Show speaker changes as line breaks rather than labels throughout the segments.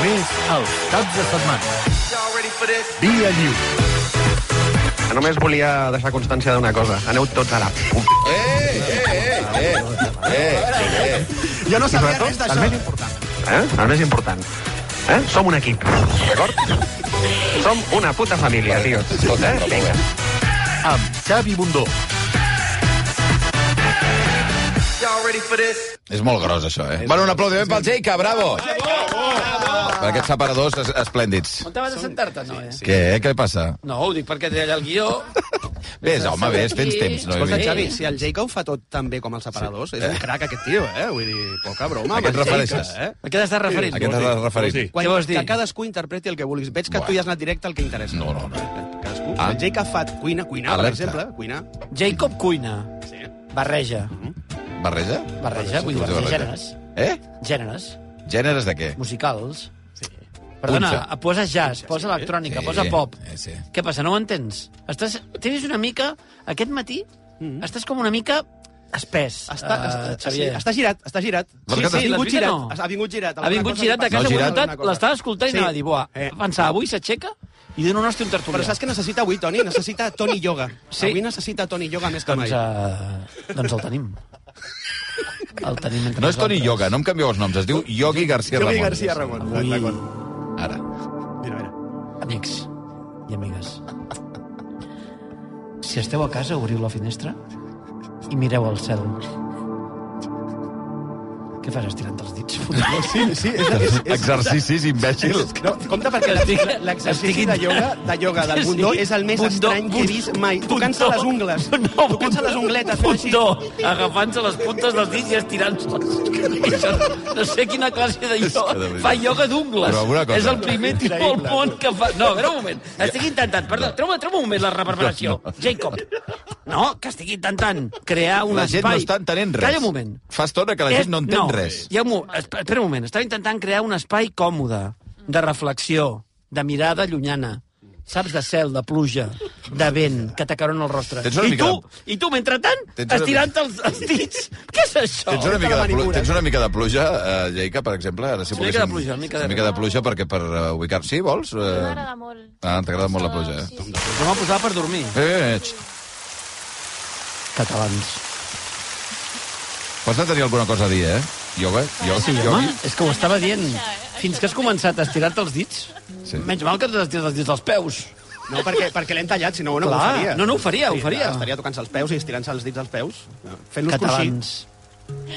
el cap de setmana. Via Lliure.
Només volia deixar constància d'una cosa. Aneu tots a la... p-
Jo no sabia
sobretot, el
res d'això.
més Eh? El més important. Eh? Som un equip, d'acord? Som una puta família, tio. Tot, eh? Vinga.
Amb Xavi Bundó.
És molt gros, això, eh? Bueno, un aplaudiment pel Jake, bravo! Per aquests separadors es- esplèndids.
On t'has de sentar-te, no, eh?
Què, què passa?
No, ho dic perquè té allà el guió.
Vés, home, vés, tens temps. No,
Escolta,
Sí.
Xavi, si el Jake ho fa tot tan bé com els separadors, és un crac aquest tio, eh? Vull dir, poca broma.
A què et
amb el Jake,
refereixes?
eh?
A què t'has de referir?
Aquest és el referent.
Quan,
Què vols dir?
Que cadascú interpreti el que vulguis. Veig que
Bueno.
tu ja has anat directe al que interessa. Eh,
No, no, no.
Cadascú.
Ah.
El Jake ha fet cuina, cuinar, per
Alerta.
exemple. Cuinar.
Jacob cuina. Barreja.
Mm, Barreja?
Barreja, vull dir,
Barreja.
barreja gèneres.
Eh?
Gèneres
Gèneres de què?
musicals. Perdona, eh,
Punxa.
posa jazz, posa electrònica,
Sí,
posa pop.
eh, sí.
Què passa, no ho entens? Estàs, tens una mica... Aquest matí estàs com una mica espès,
Està,
eh,
està, està,
Xavier.
està girat, està girat.
Sí, sí,
ha
la
vingut
Xavier
girat.
no.
Ha vingut girat.
Ha vingut girat de casa,
No,
no,
girat.
girat... l'estava escoltant i
Sí.
anava a dir, buah,
Eh.
pensava, avui s'aixeca i dona un hosti a un tertulià.
Però saps què necessita avui, Toni? Necessita Toni Yoga.
Sí.
Sí. Avui necessita Toni Yoga més que mai.
Doncs, eh, doncs el tenim. El tenim entre
No és Toni
nosaltres.
Yoga, no em canvieu els noms. Es diu Yogi
eh,
García Ramon.
Yogi
doncs,
García Ramon.
Avui,
D'acord.
Ara.
Mira, mira.
amics i amigues, si esteu a casa, obriu la finestra i mireu el cel. Què fas estirant els dits?
Sí, sí, és, és, és,
Exercicis imbècil.
No, compte perquè l'exercici- l'exercici de ioga, de ioga del bundó és el més
Bundó,
estrany que he vist mai.
bundó.
Tocant-se les ungles,
No,
tocant-se les ungletes, fent així.
Bundó, agafant-se les puntes dels dits i estirant-se-les. No sé quina classe de
que de
ioga.
veritat.
Fa ioga d'ungles.
Però alguna cosa.
És el primer tio al món que fa... No, a veure un moment. Estic intentant... Perdó, troba, troba un moment la reverberació. Jacob. No, que estic intentant crear un
La
espai...
gent no està entenent res.
Calla un moment.
Fa estona que la gent no entén
Eh, no,
res.
Hi ha un, mo- esp- espera un moment. Estava intentant crear un espai còmode, de reflexió, de mirada llunyana. Saps, de cel, de pluja, de vent, que t'acaron el rostre.
Tens una
I
mica
tu,
de-
i tu mentrestant,
Tens una
estirant els, els dits. Què és això?
Tens una, mica de pluja,
manicura.
tens una mica de pluja, uh, Jaica, per exemple? Ara, si
Una mica de
volguéssim-
pluja, una mica de-
Una mica de pluja perquè per uh, ubicar... Sí, vols? Uh...
M'agrada molt.
Ah, t'agrada molt la pluja, eh?
Sí, sí.
No m'ha posat per dormir.
Eh, eh, eh. xt.
Catalans.
Pots de tenir alguna cosa a dir, eh? Yoga? Yoga?
Sí,
Home,
yogi?
és que ho estava dient.
Això
Fins que has començat a estirar-te els dits,
Sí.
menys mal que t'has estirat els dits als peus.
No, perquè, perquè l'hem tallat, si no, no ho
Clar,
faria.
no, no ho faria, ho
Sí,
faria.
clar, Estaria tocant-se els peus i estirant-se els dits als peus. Fent-los cruixir.
Catalans,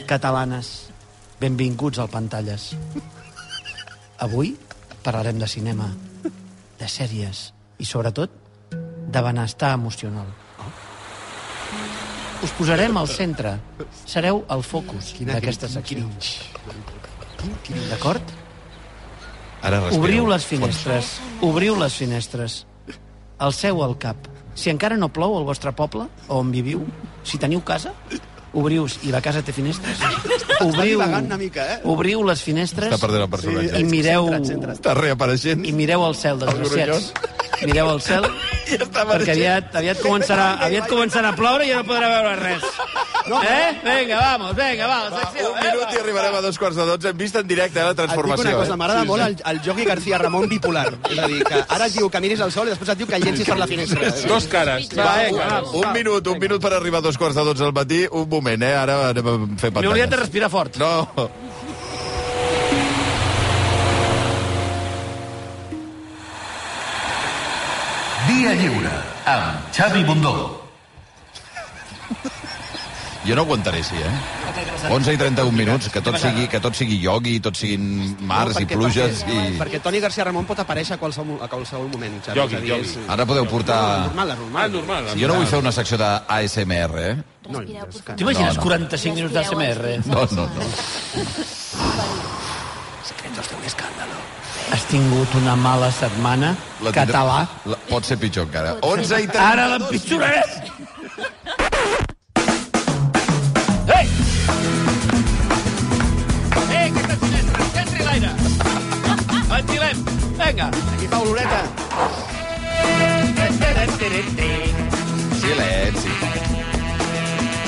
catalanes, benvinguts al Pantalles. Avui parlarem de cinema, de sèries i, sobretot, de benestar emocional. Us posarem al centre. Sereu el focus d'aquesta secció. D'acord?
Ara respiro.
Obriu les finestres. Obriu les finestres. Alceu el cap. Si encara no plou al vostre poble, o on viviu, si teniu casa, obriu i la casa té finestres, obriu,
divagant una mica, eh?
obriu les finestres
Està perdent el personatge.
i mireu,
Centra't, centra't.
Està reapareixent.
i mireu el cel, desgraciats. Mireu el cel, perquè aviat, aviat, començarà, aviat començarà a ploure i ja no podrà veure res. Eh? Vinga, vamos, vinga, va, la
Va,
secció.
un minut i arribarem a dos quarts de dotze. Hem vist en directe eh,
Et
la
dic
transformació.
una cosa,
eh?
m'agrada molt el, el Jogi García Ramon bipolar. És a dir, que ara et diu que miris al sol i després et diu que llencis per la finestra.
Dos cares.
Va, un, un minut, un minut per arribar a dos quarts de dotze del matí. Un moment, eh? Ara anem a fer pantalles.
L'hauríem de respirar fort.
No.
Via Lliure. Amb Xavi Bundó.
Jo no aguantaré així, eh? 11 i 31 minuts, que tot sigui, que tot sigui iogui, tot siguin mars i
Perquè-
pluges i...
perquè- Perquè Toni García Ramon pot aparèixer a qualsevol, a qualsevol moment. Xavi.
Jogi,
És a dir,
Jogi.
és-
Ara podeu portar...
Normal, és
Ah,
normal.
normal.
Si jo no vull fer una secció d'ASMR, eh?
Doncs
Respireu, por favor.
T'imagines
No, no.
45 minuts d'ASMR?
No, no, no.
Has tingut una mala setmana,
La tindrà-
català.
La, pot ser Ah. pitjor encara. 11 i 30...
Ara l'empitjorarem! Ei! Ei, aquesta finestra, que entri l'aire! Ventilem! Vinga!
Aquí fa oloreta.
Silenci.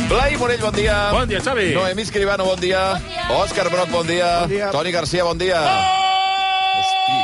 Blai Morell, bon dia.
Bon dia, Xavi.
Noemí Escribano, bon dia.
Bon dia.
Òscar Broc, bon dia.
dia.
Toni Garcia, bon dia. Hosti.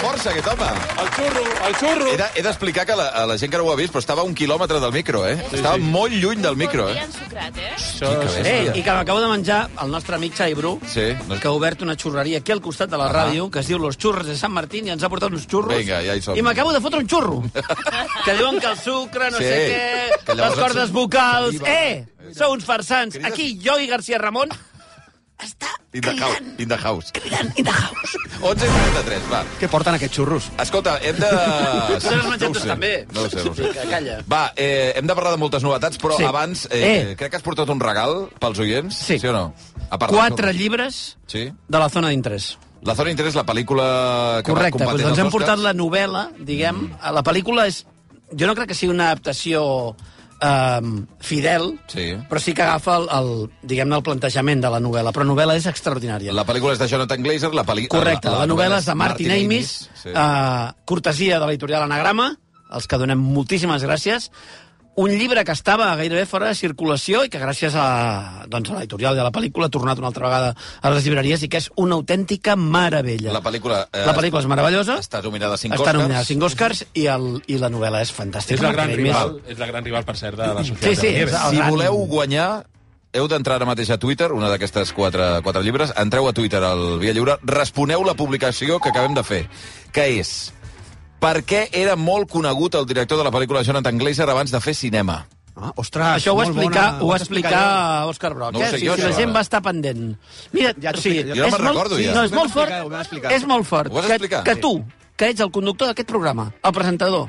força, aquest home.
El xurro, el xurro.
He de- He d'explicar que la, a la gent que no ho ha vist, però estava a un quilòmetre del micro, eh? Sí, estava sí. molt lluny del micro, eh?
ensucrat, eh?
Això
Qui que
és...
bé.
Eh, i que m'acabo de menjar el nostre amic Xavi Bru,
Sí, no és-
que ha obert una xurreria aquí al costat de la ràdio, que es diu Los Churros de Sant Martín, i ens ha portat uns xurros.
Vinga, ja hi som.
I m'acabo de fotre un xurro. que diuen que el sucre, no
Sí,
sé
que
què,
llavors
les cordes
et-
vocals...
saliva.
Eh, sou uns farsants.
Crides-
Aquí, jo i García Ramon, està
In the house.
cridant,
In the house.
cridant in the house.
11 i 33, va.
Què porten aquests xurros?
Escolta, hem de...
Tu n'has menjat
ho
tots
sé.
també.
No ho sé, no ho
Vinga,
sé.
calla.
Va, eh, hem de parlar de moltes novetats, però
Sí.
sí. abans eh,
Eh.
eh. crec que has portat un regal pels oients,
Sí.
sí o no? A part de-
Quatre llibres
Sí.
de la zona d'interès.
La zona d'interès, la pel·lícula que va
Correcte,
competent
doncs ens
als
hem portat
Oscars.
la novel·la, diguem. Mm. La pel·lícula és... Jo no crec que sigui una adaptació um, fidel,
Sí.
però sí que agafa el, el, diguem el plantejament de la novel·la. Però novel·la és extraordinària.
La pel·lícula és de Jonathan Glazer, la pel·lícula...
Correcte, la, novel·la és de Martin, Amis,
Sí.
eh, cortesia de l'editorial Anagrama, als que donem moltíssimes gràcies. Un llibre que estava gairebé fora de circulació i que gràcies a, doncs, a l'editorial de la pel·lícula ha tornat una altra vegada a les llibreries i que és una autèntica meravella.
La pel·lícula... eh,
La pel·lícula és meravellosa.
Està nominada a 5
Està nominada a 5 Oscars i, el, i la novel·la és fantàstica.
És la gran
Martin Amis.
rival, és la gran rival, per cert, de la
Sí,
Sofia
sí, és
Nieves.
el
Si
gran...
voleu guanyar, heu d'entrar ara mateix a Twitter, una d'aquestes quatre, quatre llibres, entreu a Twitter al Via Lliure, responeu la publicació que acabem de fer, que és... Per què era molt conegut el director de la pel·lícula Jonathan Glazer abans de fer cinema?
Ah, ostres,
Això ho va
molt
explicar,
bona.
ho va
has
explicar
explicat
Òscar Broc,
No ho
eh?
sé
O sigui,
jo,
si
això,
la gent
ara.
va estar pendent. Mira,
Ja t'ho
o sigui,
explico,
jo no
és
me'n
molt-
recordo,
sí,
ja.
No, és
Ho
molt
vas
fort,
explicar, ho vas explicar.
és molt fort
Ho vas
que,
explicar?
que
Sí.
tu, que ets el conductor d'aquest programa, el presentador,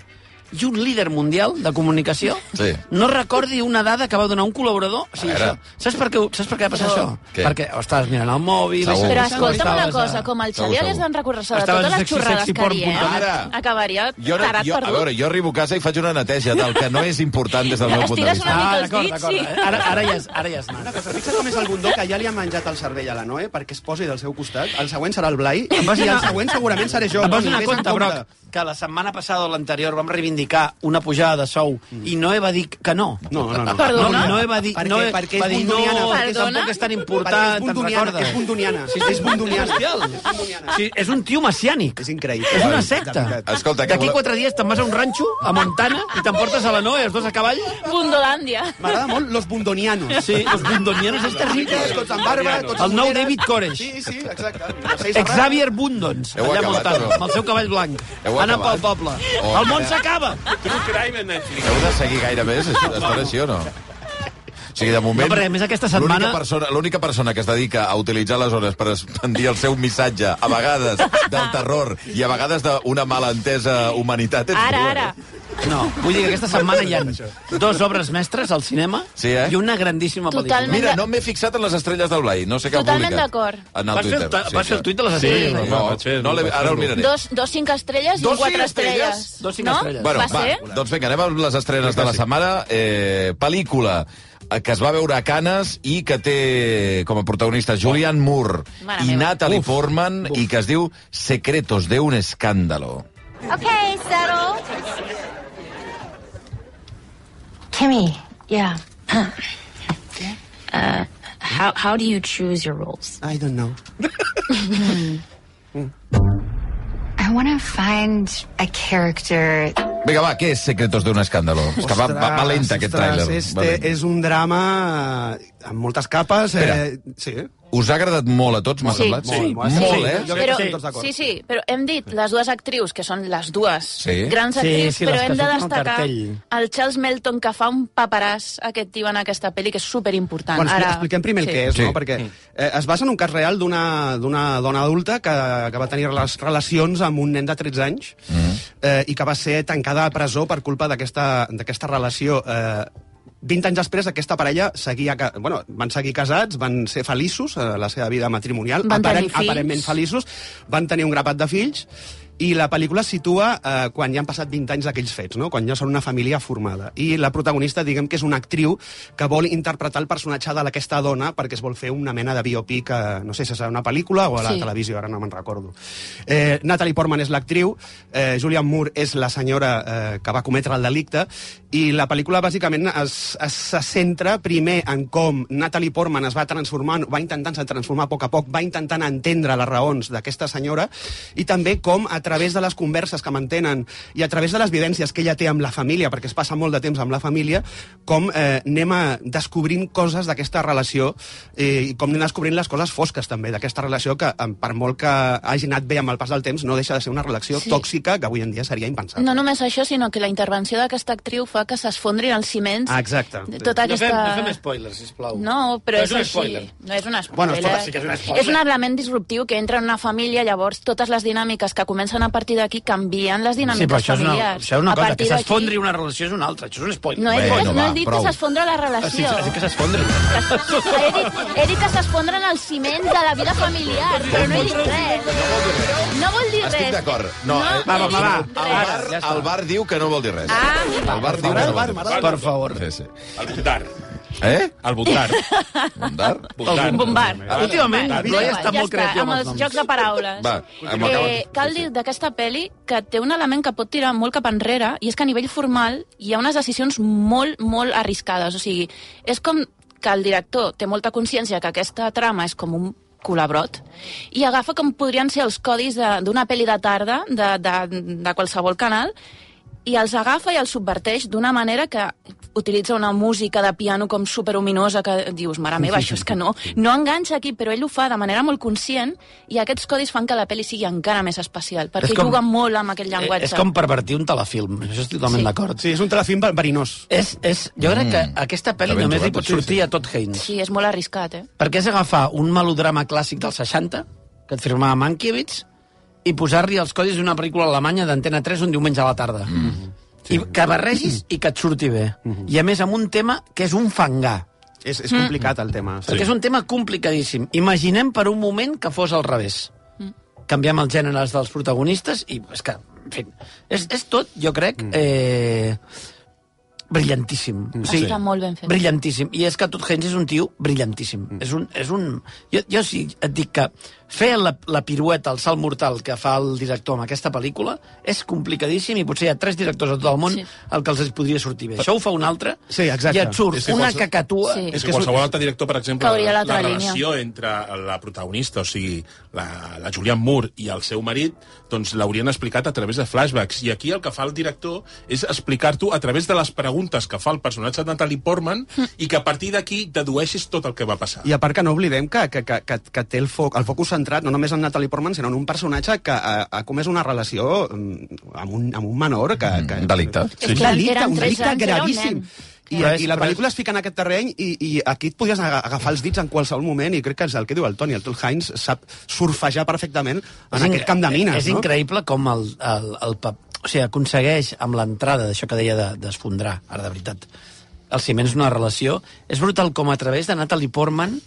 i un líder mundial de comunicació,
Sí.
no recordi una dada que va donar un col·laborador. O sigui,
A veure.
això, saps per què, saps per què va passar això?
Què?
Perquè o estaves mirant el mòbil...
Segur.
estaves-
Però
Segur,
escolta'm una
estaves a-
cosa, com el
Segur,
Xavier
segur.
es van recursar de
Estaves
totes
a
les
sexy,
xorrades
sexy
que diem,
porn.com.
Ara.
acabaria
Jo, no-
tarat
jo, a
perdut.
veure, jo arribo a casa i faig una neteja del que no és important des del meu punt de
Estires
vista.
una mica
Ah,
els
d'acord,
dits,
d'acord.
sí.
Ara, ara ja és, ara ja és
Una
nas.
cosa, fixa't com és el bundó que ja li ha menjat el cervell a la Noe perquè es posi del seu costat. El següent serà el Blai i
vas
el
donar-
següent segurament seré jo.
Em vas
Toni,
donar
vés
compte,
amb
Broc, que la setmana passada o l'anterior vam reivindicar una pujada de sou i Noé va dir que Mm. no.
No, no, no.
Perdona?
No, Noé va dir...
Perquè-
Noé
perquè és
va dir, no,
bundoniana,
perquè
Perdona?
tampoc és tan
Perquè és
important, te'n
bundoniana,
recordes?
és bundoniana.
Sí, sí, és
És bundoniana. És
bundoniana.
bundoniana.
Sí, és un tio messiànic.
És increïble.
És una
De
secta.
veritat.
Escolta, que
D'aquí
voleu-
quatre dies te'n vas a un ranxo, a Montana, i t'emportes a la Noé, els dos a cavall.
Bundolàndia.
M'agrada molt los bundonianos.
Sí, els bundonianos és terrible.
Xiques, tots amb barba, tots
El
amb
nou
ulleres.
David Koresh.
Sí, sí, exacte. Els seis arrats.
Xavier Bundons,
Heu
allà a
acabat,
Montana,
però.
amb el seu cavall blanc,
Heu
anant pel
acabat?
poble.
Oh,
El món
mira.
s'acaba!
True crime en Netflix.
Heu de seguir gaire més? Això- Estan així o no? O sigui, de moment...
No, perquè, a més, aquesta setmana-
L'única persona, l'única persona que es dedica a utilitzar les hores per expandir el seu missatge, a vegades del terror i a vegades d'una malentesa humanitat... ets
Ara,
tu, eh?
ara.
No, vull dir que aquesta setmana hi ha dues obres mestres al cinema
Sí, eh?
i una grandíssima
Totalment.
pel·lícula.
Mira, no m'he fixat en les estrelles del Blai. No sé què ha
Totalment
publicat.
d'acord.
En el
Vas fer el,
Twitter.
ta- vas fer el tuit de les
Sí,
estrelles.
home.
ahir?
No,
Vaig fer-lo,
no l'he-
vaig
ara el
fer-lo.
miraré.
Dos, dos cinc estrelles
Dos
i quatre
cinc estrelles?
estrelles.
Dos cinc
no?
estrelles.
Bueno,
va,
va,
ser?
doncs vinga, anem amb les estrenes de la setmana. Eh, pel·lícula eh, que es va veure a Canes i que té com a protagonista Julian Moore
Mare
i
meva.
Natalie Portman i que es diu Secretos de un escándalo.
Okay, settle.
Kimmy, yeah. Uh, how how do you choose your roles?
I don't know.
I want to find a character
Vinga, va, què és Secretos de un escándalo? És que va, va, va lenta aquest
ostres,
tràiler. Va
Este
lenta.
és un drama eh, amb moltes capes. Eh,
Espera.
sí.
Us ha agradat molt a tots, m'ha
Sí.
semblat?
Sí.
molt,
Sí.
molt, eh?
Jo crec
Però,
que estem tots d'acord.
sí, sí, però hem dit les dues actrius, que són les dues
Sí.
grans
Sí,
actrius,
sí, les
però
que
hem de
surten al
destacar
cartell.
el Charles Melton, que fa un paperàs aquest tio en aquesta pel·li, que és superimportant.
Bueno,
Ara...
Ara... expliquem primer el
sí.
que és,
Sí.
no? Perquè eh, es basa en un cas real d'una d'una dona adulta que, que va tenir les relacions amb un nen de 13 anys mm.
Mm-hmm.
eh, i que va ser tancada a presó per culpa d'aquesta d'aquesta relació. Eh, 20 anys després, aquesta parella seguia... ca- Bueno, van seguir casats, van ser feliços a la seva vida matrimonial,
Van tenir fills.
aparentment feliços, van tenir un grapat de fills, i la pel·lícula es situa eh, quan ja han passat 20 anys d'aquells fets, no? quan ja són una família formada. I la protagonista, diguem que és una actriu que vol interpretar el personatge de aquesta dona perquè es vol fer una mena de biopic, eh, no sé si serà una pel·lícula o a la
Sí.
sí. televisió, ara no me'n recordo. Eh, Natalie Portman és l'actriu, eh, Julian Moore és la senyora eh, que va cometre el delicte, i la pel·lícula bàsicament es, es, se centra primer en com Natalie Portman es va transformant, va intentant-se transformar a poc a poc, va intentant entendre les raons d'aquesta senyora, i també com a través través de les converses que mantenen i a través de les vivències que ella té amb la família, perquè es passa molt de temps amb la família, com eh, anem a descobrint coses d'aquesta relació eh, i com anem descobrint les coses fosques també d'aquesta relació que, em- per molt que hagi anat bé amb el pas del temps, no deixa de ser una relació
Sí.
sí. tòxica que avui en dia seria impensable.
No només això, sinó que la intervenció d'aquesta actriu fa que s'esfondrin els ciments.
Ah, exacte.
de Tota
No
aquesta...
fem, no fem spoilers, sisplau.
No, però és,
No, és un
així.
spoiler.
No és un spoiler.
Bueno, escolta,
sí que és un spoiler.
és un element disruptiu que entra en una família, llavors totes les dinàmiques que comencen a partir d'aquí canvien les dinàmiques
Sí, però això és una,
Ah, familiars.
això és una
A
cosa,
partir
que
d'aquí-
s'esfondri una relació és una altra, això és un spoiler.
No he dit,
Bueno,
que- no
va,
he dit
prou.
que s'esfondre la
Ah, sí,
relació.
sí, sí que s'esfondri.
he, dit, he dit que s'esfondren els ciments de la vida familiar, però no he dit res. No vol dir res.
Estic d'acord. No,
No,
eh,
Va, va, va, va.
no he dit
El
res.
bar, el bar diu que no vol dir res.
Ah,
el bar diu que no vol dir res.
Per favor.
Sí, sí.
El Bundar.
Eh?
El Bundar.
Bundar?
Bundar.
Bombar.
Ah, Últimament,
Bombar.
la Laia està
Ja
molt creativa amb
amb
els
els
noms.
jocs de paraules.
Va, amb el
eh,
que-
cal dir d'aquesta pe·li que té un element que pot tirar molt cap enrere i és que a nivell formal hi ha unes decisions molt, molt arriscades. O sigui, és com que el director té molta consciència que aquesta trama és com un colabrot i agafa com podrien ser els codis de- d'una pel·li de tarda de, de, de qualsevol canal i els agafa i els subverteix d'una manera que utilitza una música de piano com superominosa que dius, mare meva, això és que no, no enganxa aquí, però ell ho fa de manera molt conscient i aquests codis fan que la pel·li sigui encara més especial, perquè
És com-
juga molt amb aquest
Eh,
llenguatge.
És com pervertir un telefilm, això estic totalment
Sí.
d'acord.
Sí, és un telefilm ve- verinós.
És, és, jo crec que aquesta pel·li
Està ben
només li
trobat,
pot
Mm. sí,
sortir a Todd Haynes.
Sí, és molt arriscat, eh?
Perquè és agafar un melodrama clàssic dels 60, que et firmava Mankiewicz, i posar-li els codis d'una pel·lícula alemanya d'Antena 3 un diumenge a la tarda. Mm. Sí. I que barregis i que et surti bé. I a més amb un tema que és un fangar.
És,
Mm.
és complicat el tema.
Perquè és un tema complicadíssim. Imaginem per un moment que fos al revés. Mm. Canviem els gèneres dels protagonistes i és que, en fi, és, és tot, jo crec,
Mm.
eh, brillantíssim. Mm. O sigui,
Està molt ben fet.
Brillantíssim. I és que Todd Haynes és un tio brillantíssim. Mm. És un... És un... Jo, jo sí, et dic que fer la, la pirueta, el salt mortal que fa el director amb aquesta pel·lícula és complicadíssim i potser hi ha tres directors a tot el món
Sí.
sí. el que els es podria sortir bé. Això ho fa un altre
Sí, exacte.
i et surt
És que
una
qualse-
cacatua...
Sí.
És que
És que és un-
qualsevol altre director, per exemple,
Cauria a
la,
l'altra
la
línia.
relació entre la protagonista, o sigui, la, la Julianne Moore i el seu marit, doncs l'haurien explicat a través de flashbacks. I aquí el que fa el director és explicar-t'ho a través de les preguntes que fa el personatge de Natalie Portman
Mm.
i que a partir d'aquí dedueixis tot el que va passar.
I a part que no oblidem que, que, que, que, que té el, foc, el focus centrat no només en Natalie Portman, sinó en un personatge que ha, ha comès una relació mm, amb un, amb un menor que... que
Un
Mm,
delicte.
És
Un
clar,
delicte,
eren
un
tres
delicte
anys, era un
gravíssim.
nen.
I,
Però és-
I la
però
pel·lícula es fica en aquest terreny i, i aquí et podies aga- agafar els dits en qualsevol moment i crec que és el que diu el Toni, el Tul Hines sap surfejar perfectament en
inc-
aquest camp de mines,
És
no?
increïble com el, el, el pap... O sigui, aconsegueix amb l'entrada d'això que deia de- d'esfondrar, de, ara de veritat, els ciments d'una relació. És brutal com a través de Natalie Portman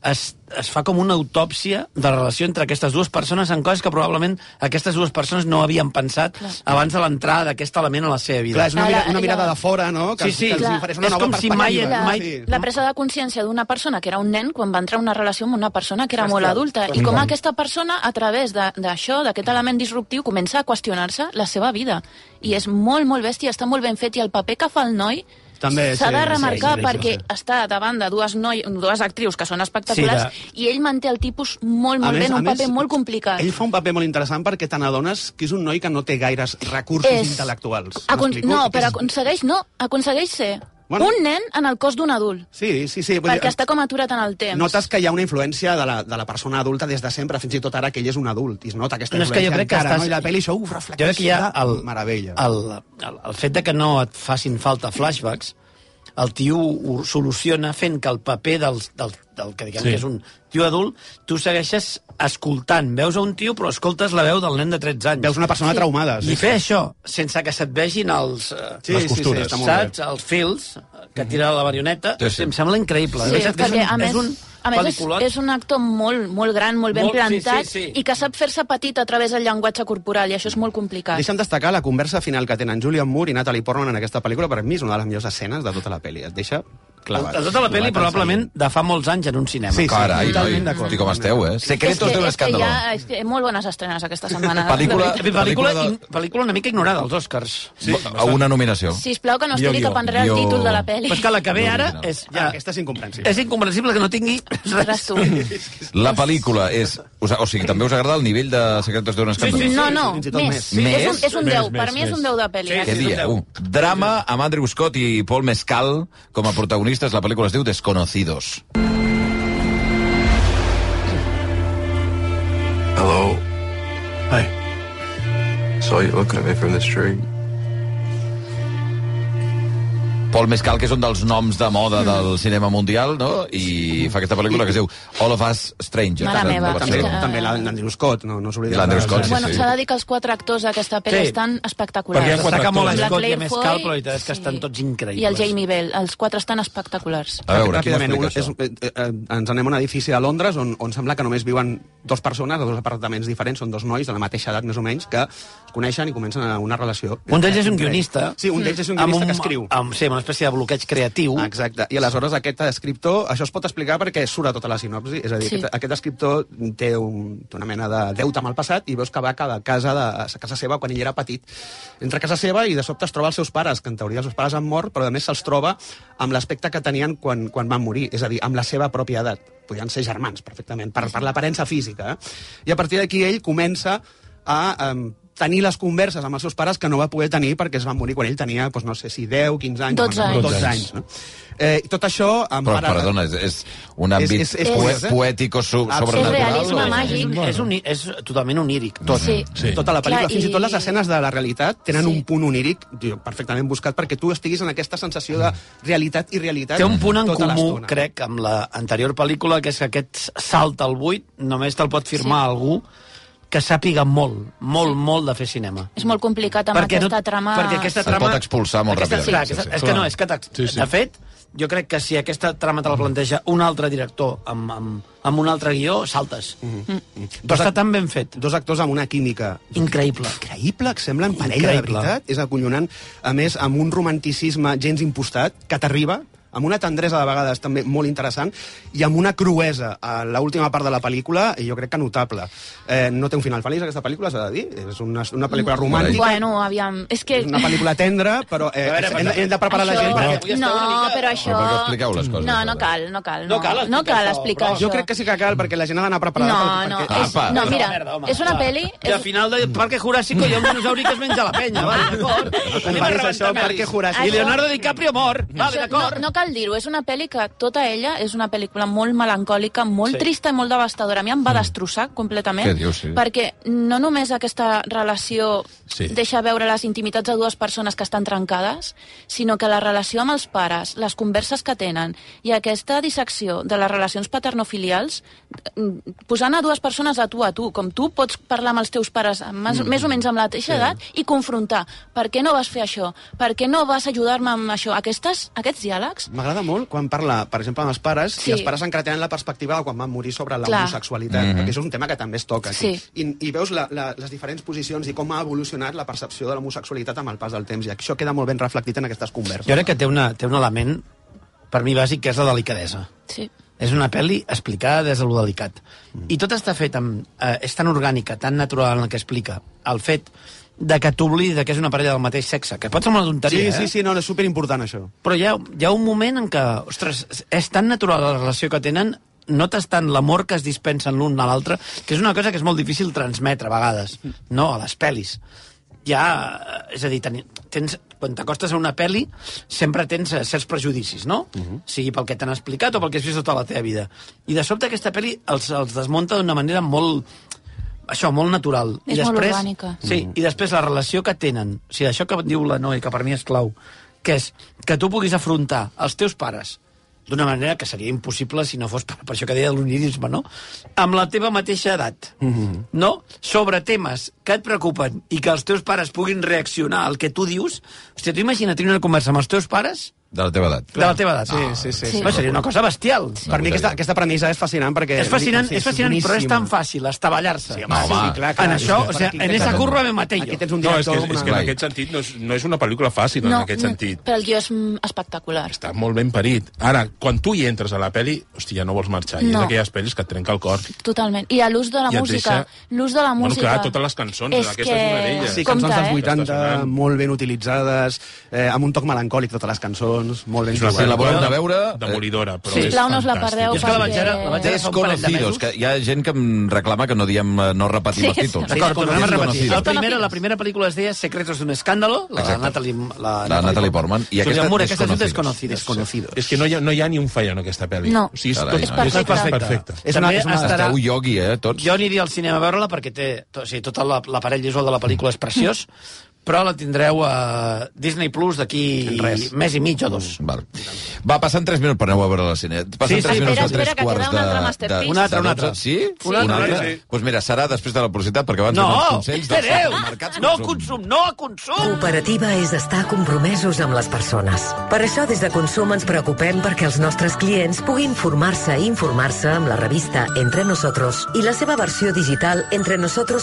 es, es fa com una autòpsia de la relació entre aquestes dues persones en coses que probablement aquestes dues persones no havien pensat Clar. abans de l'entrada d'aquest element a la seva vida.
Clar, és una,
Ara,
mira, una
allò-
mirada de fora, no? Que,
Sí,
els-
sí.
que els
Clar.
ofereix una
És
nova
com si mai-
perspectiva,
la,
no?
mai-
Sí.
la presa de consciència d'una persona que era un nen quan va entrar en una relació amb una persona que era molt adulta i com aquesta persona a través de- d'això, d'aquest element disruptiu comença a qüestionar-se la seva vida i és molt, molt bèstia, està molt ben fet i el paper que fa el noi
També,
s'ha
sí,
de
sí,
remarcar
sí, sí,
perquè
sí.
està davant de dues, noi, dues actrius que són espectaculars
Sí,
i ell manté el tipus molt, molt
A
bé, en
a
un paper molt complicat
Ell fa un paper molt interessant perquè te n'adones que és un noi que no té gaires recursos
És-
intel·lectuals.
Acon
M'explico?
no,
És-
però aconsegueix, no, aconsegueix ser
Bueno.
un nen en el cos d'un adult
Sí, sí, sí. vull dir,
perquè està com aturat en el temps
Notes que hi ha una influència de la, de la persona adulta des de sempre, fins i tot ara que ell és un adult, i es nota aquesta
No, és que
influència
jo crec que
encara,
estàs-
no? I la pel·li això ho
Jo
reflecteix
crec que hi ha el,
meravella.
El, el, el fet de que no et facin falta flashbacks, el tio ho soluciona fent que el paper del, del, del que diguem sí.
Sí.
que és un tio adult, tu segueixes escoltant. Veus a un tio, però escoltes la veu del nen de 13 anys.
Veus una persona traumada.
I fer això, sense que se't vegin els... eh,
Sí, les
costures.
Sí, sí, està molt Mhm.
saps? Els fils que tira la marioneta.
Sí, sí.
Em sembla increïble.
Sí,
És veritat que
perquè,
és un,
a més,
és un
a més és,
peliculot.
és un actor molt, molt gran, molt ben
Molt-
molt,
sí,
plantat
sí, sí.
i que sap fer-se petit a través del llenguatge corporal i això és molt complicat.
Deixa'm destacar la conversa final que tenen Julian Moore i Natalie Portman en aquesta pel·lícula. Per mi és una de les millors escenes de tota la pel·li. Et deixa
De tota la pel·li, probablement, de fa molts anys en un cinema.
Sí, sí.
Carai, noi,
Totalment d'acord.
hosti, com esteu, eh? Secretos d'un escàndalo.
És que, hi ha, és que molt bones estrenes aquesta setmana.
Pel·lícula-
De-
Pel·lícula,
Pel·lícula de-
in- pel·lícula una mica ignorada als Oscars.
Sí, a una nominació.
Sisplau, que no es
Guió,
tiri
guió.
cap enrere el
Guió.
títol de la pel·li.
Però és que la que ve ara
Original.
és...
Ja,
Ja,
aquesta és incomprensible.
és incomprensible que no tingui
Ostres,
res.
tu.
La pel·lícula és... us- O sigui, també us agrada el nivell de Secretos d'un escàndalo?
No, no,
Fins i
més.
tot
més.
més.
És un, és un
Més,
10, per
més,
mi és un
més.
10 de pel·li. eh?
Sí,
Què
aquesta.
dieu? Drama amb Andrew Scott i Paul Mescal com a protagonistes. La pel·lícula es diu Desconocidos.
Hello. Hi. Saw you looking at me from the street.
Paul Mescal, que és un dels noms de
Mm.
moda del cinema mundial, no? I fa aquesta pel·lícula que es diu All of Us Strangers.
Mare
No
meva,
pot
és
També,
ser.
que-
també la- l'Andrew Scott, no, no s'oblidem.
I l'Andrew
de-
Scott, sí,
Bueno,
sí.
s'ha de dir que els quatre actors d'aquesta pel·li
Sí.
estan
Perquè hi
espectaculars.
ha quatre
Destaca molt a
actors.
Scott i a
Claire
Mescal,
Foy,
però la veritat és que
sí.
estan tots increïbles.
I el Jamie Bell, els quatre estan espectaculars.
A veure, qui
Ràpidament, un,
m'explica
és,
això?
eh, eh, ens anem a un edifici a Londres on, on sembla que només viuen dues persones a dos apartaments diferents, són dos nois de la mateixa edat més o menys que es coneixen i comencen a- una relació.
Un d'ells és un
Entre ells.
guionista.
Sí, un d'ells és un
Amb
guionista que escriu.
Amb, sí, amb una espècie de bloqueig creatiu.
Exacte. I aleshores aquest escriptor, això es pot explicar perquè surt a tota la sinopsi, és a
Sí.
dir, sí. aquest, aquest escriptor té un, té una mena de deute amb el passat i veus que va a cada casa, de, a casa seva quan ell era petit. Entra a casa seva i de sobte es troba els seus pares, que en teoria els seus pares han mort, però a més se'ls troba amb l'aspecte que tenien quan, quan van morir, és a dir, amb la seva pròpia edat. Podien ser germans, perfectament, per, per l'aparença física. Eh? I a partir d'aquí ell comença a um, tenir les converses amb els seus pares que no va poder tenir perquè es van morir quan ell tenia, doncs, no sé si 10, 15 anys.
12 anys.
12 anys no? Eh, i tot això... Amb
Però, perdona, és, és un àmbit
És- és- és-
poe-
és- eh?
poètico
Ah,
so-
sí.
És
sobrenatural.
realisme
És,
o-
un,
màgic.
és, un, és totalment oníric. Tot.
Sí.
Sí.
Tota la pel·lícula,
Clar,
fins i tot
i-
les escenes de la realitat tenen
Sí.
un punt oníric jo, perfectament buscat perquè tu estiguis en aquesta sensació de realitat i realitat
Té un punt en
tota
comú,
l'estona.
crec, amb l'anterior pel·lícula, que és que aquest salt al buit només te'l pot firmar sí. algú que sàpiga molt, molt, molt de fer cinema.
És molt complicat amb aquesta trama...
Perquè aquesta
Se't
trama...
pot expulsar molt
aquesta,
ràpidament,
Clar,
sí,
aquesta,
sí.
és que no, és que de,
Sí, sí.
de fet, jo crec que si aquesta trama te la planteja un altre director amb, amb, amb un altre guió, saltes. Mm -hmm. Però està tan ben fet.
Dos actors amb una química
Increïble.
increïble, que semblen parella, de
Increïble.
veritat. És acollonant. A més, amb un romanticisme gens impostat, que t'arriba, amb una tendresa de vegades també molt interessant i amb una cruesa a l'última part de la pel·lícula, jo crec que notable. Eh, no té un final feliç, aquesta pel·lícula, s'ha de dir. És una, una pel·lícula romàntica,
Mm. Bueno, aviam... És que...
és una pel·lícula tendra, però eh,
veure,
hem, hem de preparar la gent perquè...
avui
No,
esteu una mica-
però
Però
això...
perquè expliqueu les coses,
No,
ara.
no cal, no cal.
No cal explicar
no cal
això,
explicar
però
això.
Jo crec que sí que cal, perquè la gent ha d'anar
No,
preparada. per-
no,
perquè...
és-
Apa.
no, Ah, mira,
Merda, home,
és una
va.
pel·li...
I al final
Mm.
de Parque Jurásico hi ha un dinosauri que es menja la penya, vale, d'acord? Anem a
París,
rebentar
això,
Melis.
Parque Jurásico.
I Leonardo DiCaprio mor, vale,
Això, no,
d'acord?
no cal dir-ho, és una pel·li que tota ella és una pel·lícula molt melancòlica, molt sí.
Sí.
trista i molt devastadora. A mi em va destrossar completament,
Mm. Què dius, sí?
perquè no només aquesta relació
Sí.
sí. deixa veure les intimitats de dues persones que estan trencades, sinó que la relació amb els pares, les converses que tenen i aquesta dissecció de les relacions paternofilials, mm, posant a dues persones a tu a tu, com tu pots parlar amb els teus pares amb més,
Mm.
més o menys amb la mateixa edat i confrontar. Per què no vas fer això? Per què no vas ajudar-me amb això? Aquestes, aquests diàlegs
M'agrada molt quan parla, per exemple, amb els pares, sí.
Sí.
i els pares encara tenen la perspectiva de quan van morir sobre
Clar.
l'homosexualitat, mm -hmm. perquè això és un tema que també es toca. Aquí.
Sí.
I, I veus la, la, les diferents posicions i com ha evolucionat la percepció de l'homosexualitat amb el pas del temps, i això queda molt ben reflectit en aquestes converses.
Jo crec que té, una, té un element, per mi bàsic, que és la delicadesa.
Sí.
És una pel·li explicada des de lo delicat.
Mm.
I tot està fet amb... Eh, és tan orgànica, tan natural en el que explica. El fet de que t'oblidi que és una parella del mateix sexe, que pot semblar una
Sí,
tonteria,
sí,
eh?
sí, no, no, és superimportant, això.
Però hi ha, hi ha un moment en què, ostres, és tan natural la relació que tenen, notes tant l'amor que es dispensen l'un a l'altre, que és una cosa que és molt difícil transmetre a vegades, no? A les pel·lis. Ja, eh, és a dir, teni- tens, quan t'acostes a una pel·li sempre tens eh, certs prejudicis, no? Uh -huh. Sigui pel que t'han explicat o pel que has vist tota la teva vida. I de sobte aquesta pel·li els, els desmunta d'una manera molt, això, molt natural.
És molt orgànica.
Sí,
Mm.
i després la relació que tenen, o sigui, això que diu la Noe, que per mi és clau, que és que tu puguis afrontar els teus pares d'una manera que seria impossible si no fos per, per això que deia de l'unirisme, no? Amb la teva mateixa edat, mm -hmm.
Mm-hmm.
no? Sobre temes que et preocupen i que els teus pares puguin reaccionar al que tu dius. Hòstia, tu imagina't tenir una conversa amb els teus pares
De la teva edat.
de la teva edat.
Sí, sí, sí, sí.
Va, seria una cosa bestial.
Per mi aquesta, aquesta premissa és fascinant perquè...
És fascinant, és fascinant però és tan fàcil estavellar-se.
Sí,
home, sí,
clar, clar,
en això,
és
o
que
sigui,
aquí
en
tens
esa
un-
curva me maté
Aquí
jo.
tens un
No, és
director...
que,
amb
és que en
una-
aquest sentit no és, no és una pel·lícula fàcil, no, en aquest sentit.
Però el guió és mm, espectacular.
Està molt ben parit. Ara, quan tu hi entres a la pel·li, hòstia, no vols marxar. I
No.
és d'aquelles pel·lis que et trenca el cor.
Totalment. I a l'ús de la
I et
música.
deixa-
L'ús de la
Bueno,
música...
clar, totes les cançons,
és
aquesta és una d'elles.
Sí,
Compte,
cançons dels
eh?
80,
Està
molt ben utilitzades, eh, amb un toc melancòlic totes les cançons, molt ben
És una
Si la
jugades.
pel·lícula
voleu anar a veure...
Demolidora, però
Sí.
sí. és
Sisplau, no us la
fantàstica.
perdeu,
Jo és que la vaig veure, la
perquè-
vaig veure fa un parell de
Desconocidos,
mesos.
que hi ha gent que em reclama que no diem, eh, no repetim
Sí,
els títols.
D'acord, tornem a repetir.
Desconocidos.
La primera, la primera pel·lícula es deia Secretos d'un escàndalo, la de
Exacte.
Natalie, la,
La Natalie Portman. I
Julian
aquesta,
Moore, aquesta és un desconocido.
Desconocidos.
Desconocido.
És que no hi, ha, no hi ha ni un fallo en aquesta pel·li.
No.
O sigui, és,
Carai,
tot,
no, és
és
perfecta.
perfecte.
És una-
També
és una-
estarà...
Esteu iogui, eh, tots?
Jo aniria al cinema a veure-la perquè té, to, o sigui, tot la- l'aparell visual de la pel·lícula
Mm.
és preciós, però la tindreu a Disney Plus d'aquí mes i mig o dos.
Val. Va, passen 3 minuts per anar a veure la cine. Passen
Sí, sí,
3
espera,
minuts a
espera,
3
que
quarts
queda un altre
de, de...
Masterpiece.
Un altre, un altre.
Sí?
Sí, un altre,
Doncs pues mira, serà després de la publicitat, perquè abans
No,
anem als consells dels
espereu!
supermercats
No consum, no consum!
Cooperativa és estar compromesos amb les persones. Per això, des de Consum ens preocupem perquè els nostres clients puguin formar-se i informar-se amb la revista Entre Nosotros i la seva versió digital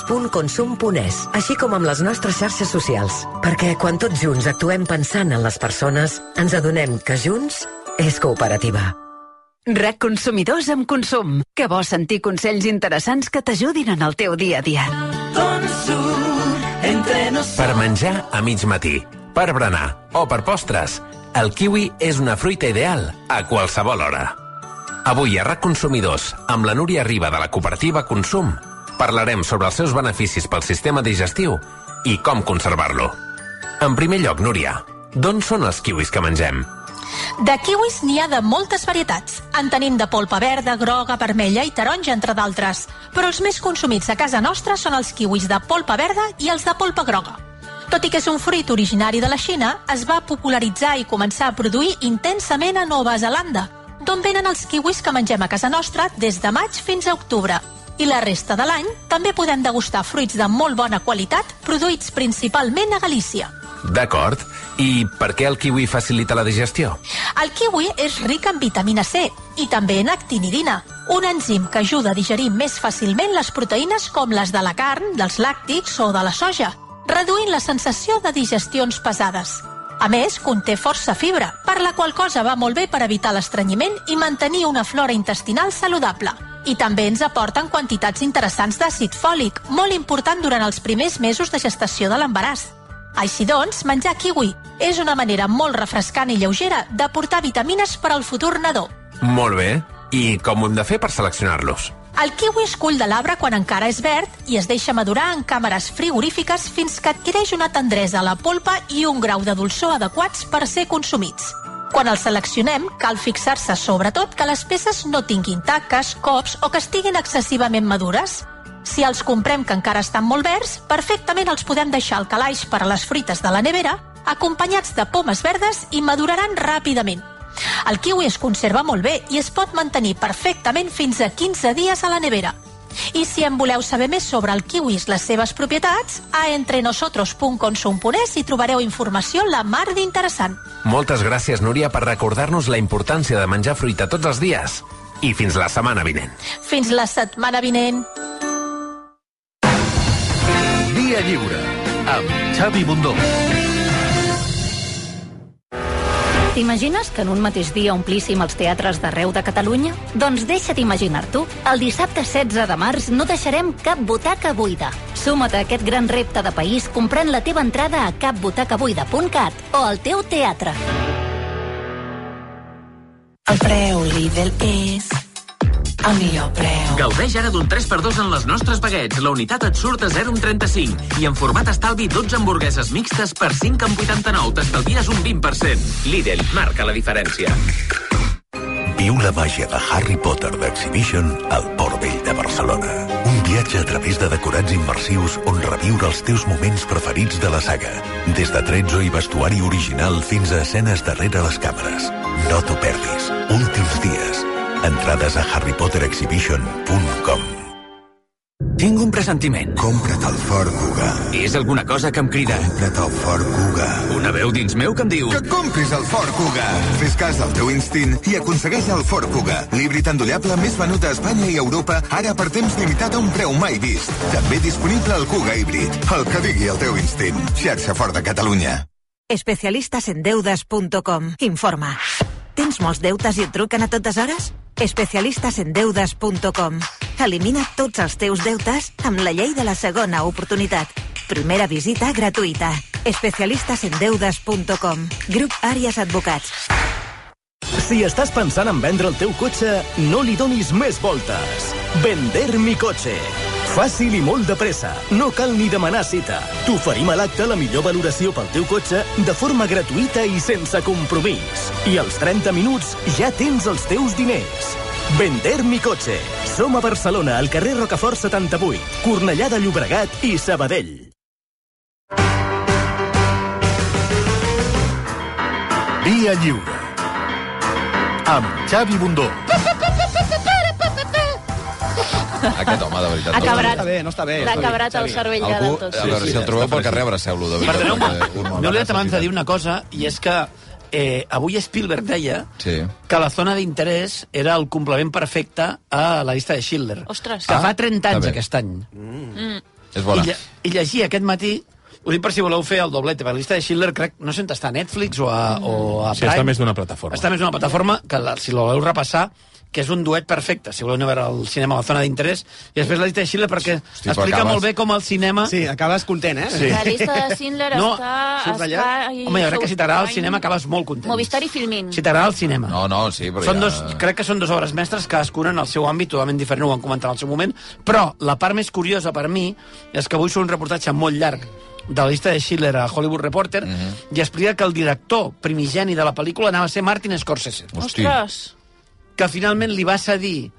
entrenosotros.consum.es, així com amb les nostres xarxes socials. Perquè quan tots junts actuem pensant en les persones, ens adonem que junts és cooperativa.
RAC Consumidors amb Consum, que vols sentir consells interessants que t'ajudin en el teu dia a dia.
Per menjar a mig matí, per berenar o per postres, el kiwi és una fruita ideal a qualsevol hora. Avui a RAC Consumidors, amb la Núria Riba de la cooperativa Consum, parlarem sobre els seus beneficis pel sistema digestiu i com conservar-lo. En primer lloc, Núria, d'on són els kiwis que mengem?
De kiwis n'hi ha de moltes varietats. En tenim de polpa verda, groga, vermella i taronja, entre d'altres. Però els més consumits a casa nostra són els kiwis de polpa verda i els de polpa groga. Tot i que és un fruit originari de la Xina, es va popularitzar i començar a produir intensament a Nova Zelanda, d'on venen els kiwis que mengem a casa nostra des de maig fins a octubre. I la resta de l'any també podem degustar fruits de molt bona qualitat produïts principalment a Galícia.
D'acord. I per què el kiwi facilita la digestió?
El kiwi és ric en vitamina C i també en actinidina, un enzim que ajuda a digerir més fàcilment les proteïnes com les de la carn, dels làctics o de la soja, reduint la sensació de digestions pesades. A més, conté força fibra, per la qual cosa va molt bé per evitar l'estrenyiment i mantenir una flora intestinal saludable. I també ens aporten quantitats interessants d'àcid fòlic, molt important durant els primers mesos de gestació de l'embaràs. Així doncs, menjar kiwi és una manera molt refrescant i lleugera de portar vitamines per al futur nadó.
Molt bé. I com ho hem de fer per seleccionar-los?
El kiwi es cull de l'arbre quan encara és verd i es deixa madurar en càmeres frigorífiques fins que adquireix una tendresa a la polpa i un grau de dolçor adequats per ser consumits. Quan els seleccionem, cal fixar-se sobretot que les peces no tinguin taques, cops o que estiguin excessivament madures. Si els comprem que encara estan molt verds, perfectament els podem deixar al calaix per a les fruites de la nevera, acompanyats de pomes verdes i maduraran ràpidament. El kiwi es conserva molt bé i es pot mantenir perfectament fins a 15 dies a la nevera. I si en voleu saber més sobre el kiwi i les seves propietats, a entrenosotros.consum.es hi trobareu informació la mar d'interessant.
Moltes gràcies, Núria, per recordar-nos la importància de menjar fruita tots els dies. I fins la setmana vinent.
Fins la setmana vinent!
Via lliure amb Xavi Bundó.
T'imagines que en un mateix dia omplíssim els teatres d'arreu de Catalunya? Doncs deixa't imaginar-t'ho. El dissabte 16 de març no deixarem cap butaca buida. Suma't a aquest gran repte de país comprant la teva entrada a capbutacabuida.cat o al teu teatre.
El preu Lidl és el millor preu.
Gaudeix ara d'un 3x2 en les nostres baguets. La unitat et surt a 0,35. I en format estalvi, 12 hamburgueses mixtes per 5,89. T'estalvies un 20%. Lidl marca la diferència.
Viu la màgia de Harry Potter d'Exhibition al Port Vell de Barcelona. Un viatge a través de decorats immersius on reviure els teus moments preferits de la saga. Des de tretzo i vestuari original fins a escenes darrere les càmeres. No t'ho perdis. Últims dies. Entrades a harrypoterexhibition.com
Tinc un pressentiment. Compra't el Ford Kuga. És alguna cosa que em crida. Compra't el Ford Kuga. Una veu dins meu que em diu...
Que compris el Ford Kuga. Fes cas del teu instint i aconsegueix el Ford Kuga, l'híbrid endollable més venut a Espanya i Europa, ara per temps limitat a un preu mai vist. També disponible el Kuga híbrid. El que digui el teu instint. Xarxa Ford de Catalunya.
Especialistasendeudes.com Informa. Tens molts deutes i et truquen a totes hores? Especialistasendeudes.com Elimina tots els teus deutes amb la llei de la segona oportunitat. Primera visita gratuïta. Especialistasendeudes.com Grup Àries Advocats.
Si estàs pensant en vendre el teu cotxe, no li donis més voltes. Vender mi cotxe. Fàcil i molt de pressa. No cal ni demanar cita. T'oferim a l'acte la millor valoració pel teu cotxe de forma gratuïta i sense compromís. I als 30 minuts ja tens els teus diners. Vender mi cotxe. Som a Barcelona, al carrer Rocafort 78, Cornellà de Llobregat i Sabadell.
Via Lliure. Amb Xavi Bundó.
Aquest home, de veritat.
Ha
no-
cabrat.
Està bé, no
Eh,
està bé.
L'ha cabrat el cervell ja de
Algú,
tots.
a veure, si el trobeu pel carrer, abraceu-lo, de veritat.
Eh,
Perdoneu-me,
M'he oblidat abans de dir una cosa, i és que eh, avui Spielberg deia
Sí.
que la zona d'interès era el complement perfecte a la llista de Schindler.
Ostres.
Que
Ah,
fa 30
està
anys
bé.
aquest any.
Mm.
És bona.
I, lle I llegir aquest matí ho dic per si voleu fer el doblete, per la llista de Schindler, crec, no sé on està, a Netflix o a, o a
Mm. Sí,
Prime.
està més d'una plataforma.
Està més d'una plataforma, que la, si la voleu repassar, que és un duet perfecte, si voleu anar a veure el cinema a la zona d'interès, i després la llista de Schindler, perquè
però
explica
acabes-
molt bé com el cinema...
Sí, acabes content, eh?
La llista de Schindler
No,
està...
surts d'allà?
està ahí
Home, jo crec que si t'agrada el
sota-
cinema acabes molt content.
Movistar i Filmin.
Si t'agrada el cinema.
No, no, sí, però
Són
ja...
dos, crec que són dues obres mestres, cadascuna en el seu àmbit totalment diferent, ho vam comentar en el seu moment, però la part més curiosa per mi és que avui surt un reportatge molt llarg de la llista de Schiller a Hollywood Reporter
Mhm.
i explica que el director primigeni de la pel·lícula anava a ser Martin Scorsese.
Hosti.
Que finalment li va cedir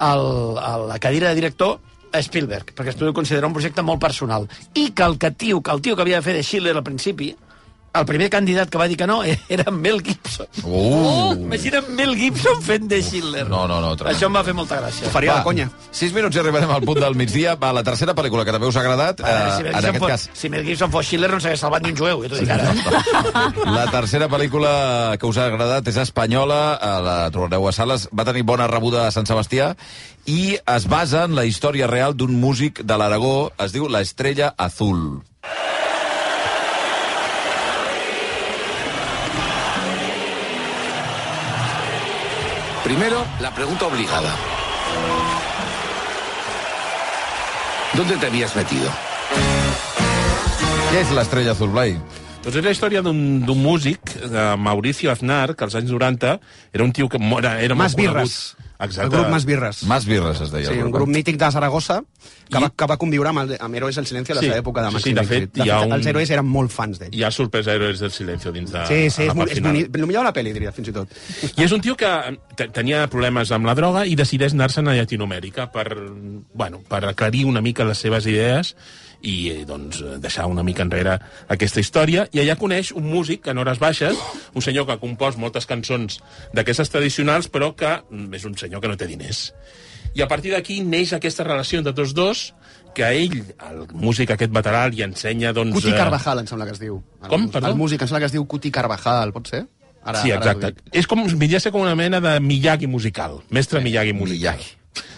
el, a la cadira de director a Spielberg, perquè Spielberg ho considera un projecte molt personal. I que el, que, tio, que el tio que havia de fer de Schiller al principi, el primer candidat que va dir que no eh, era en Mel Gibson. Oh,
Uh.
Imagina't Mel Gibson fent de Schiller.
No, no, no.
Això em va fer molta gràcia.
Va, Sis minuts i arribarem al punt del migdia. Va, la tercera pel·lícula que també us ha agradat,
A veure,
eh,
si, Mel
en
Gibson
aquest
fos,
cas,
si Mel Gibson fos Schiller no s'hagués salvat ni un jueu, jo t'ho dic ara. eh.
la tercera pel·lícula que us ha agradat és espanyola, eh, la trobareu a sales, va tenir bona rebuda a Sant Sebastià i es basa en la història real d'un músic de l'Aragó, es diu La Estrella Azul.
Primero, la pregunta obligada.
¿Dónde te habías metido? Què és l'estrella azul, Blai?
Doncs és la història d'un d'un músic, de Mauricio Aznar, que als anys 90 era un tio que mo- era, era
Mas
molt conegut.
Birres.
Exacte.
El grup Mas Birres.
Mas Birres es deia.
Sí, un grup mític de Saragossa que, va, que va conviure amb, el, amb Heroes del Silenci a la
Sí,
seva època
sí,
de
sí,
Maxi
de
Mixit.
fet, hi ha un-
els Heroes eren molt fans d'ell.
Hi ha sorpresa Héroes del Silencio dins de
Sí, sí,
la Doncs,
és,
part
molt, és
final.
bonic. El millor de la pel·li, diria, fins i tot.
I és un tio que eh, te- tenia problemes amb la droga i decideix anar-se'n a Llatinoamèrica per, bueno, per aclarir una mica les seves idees i eh, doncs, eh, deixar una mica enrere aquesta història. I allà coneix un músic en hores baixes, un senyor que ha compost moltes cançons d'aquestes tradicionals, però que mm, és un senyor que no té diners. I a partir d'aquí neix aquesta relació entre tots dos, que ell, el músic aquest veterà, li ensenya... Doncs,
Cuti
eh,
Carvajal, em sembla que es diu.
Com?
El,
Perdó?
el músic, em sembla que es diu Cuti Carvajal, pot ser? Ara,
sí,
ara
exacte.
t'ho dic.
és com, vindria a ser com una mena de Miyagi musical. Mestre Miyagi musical.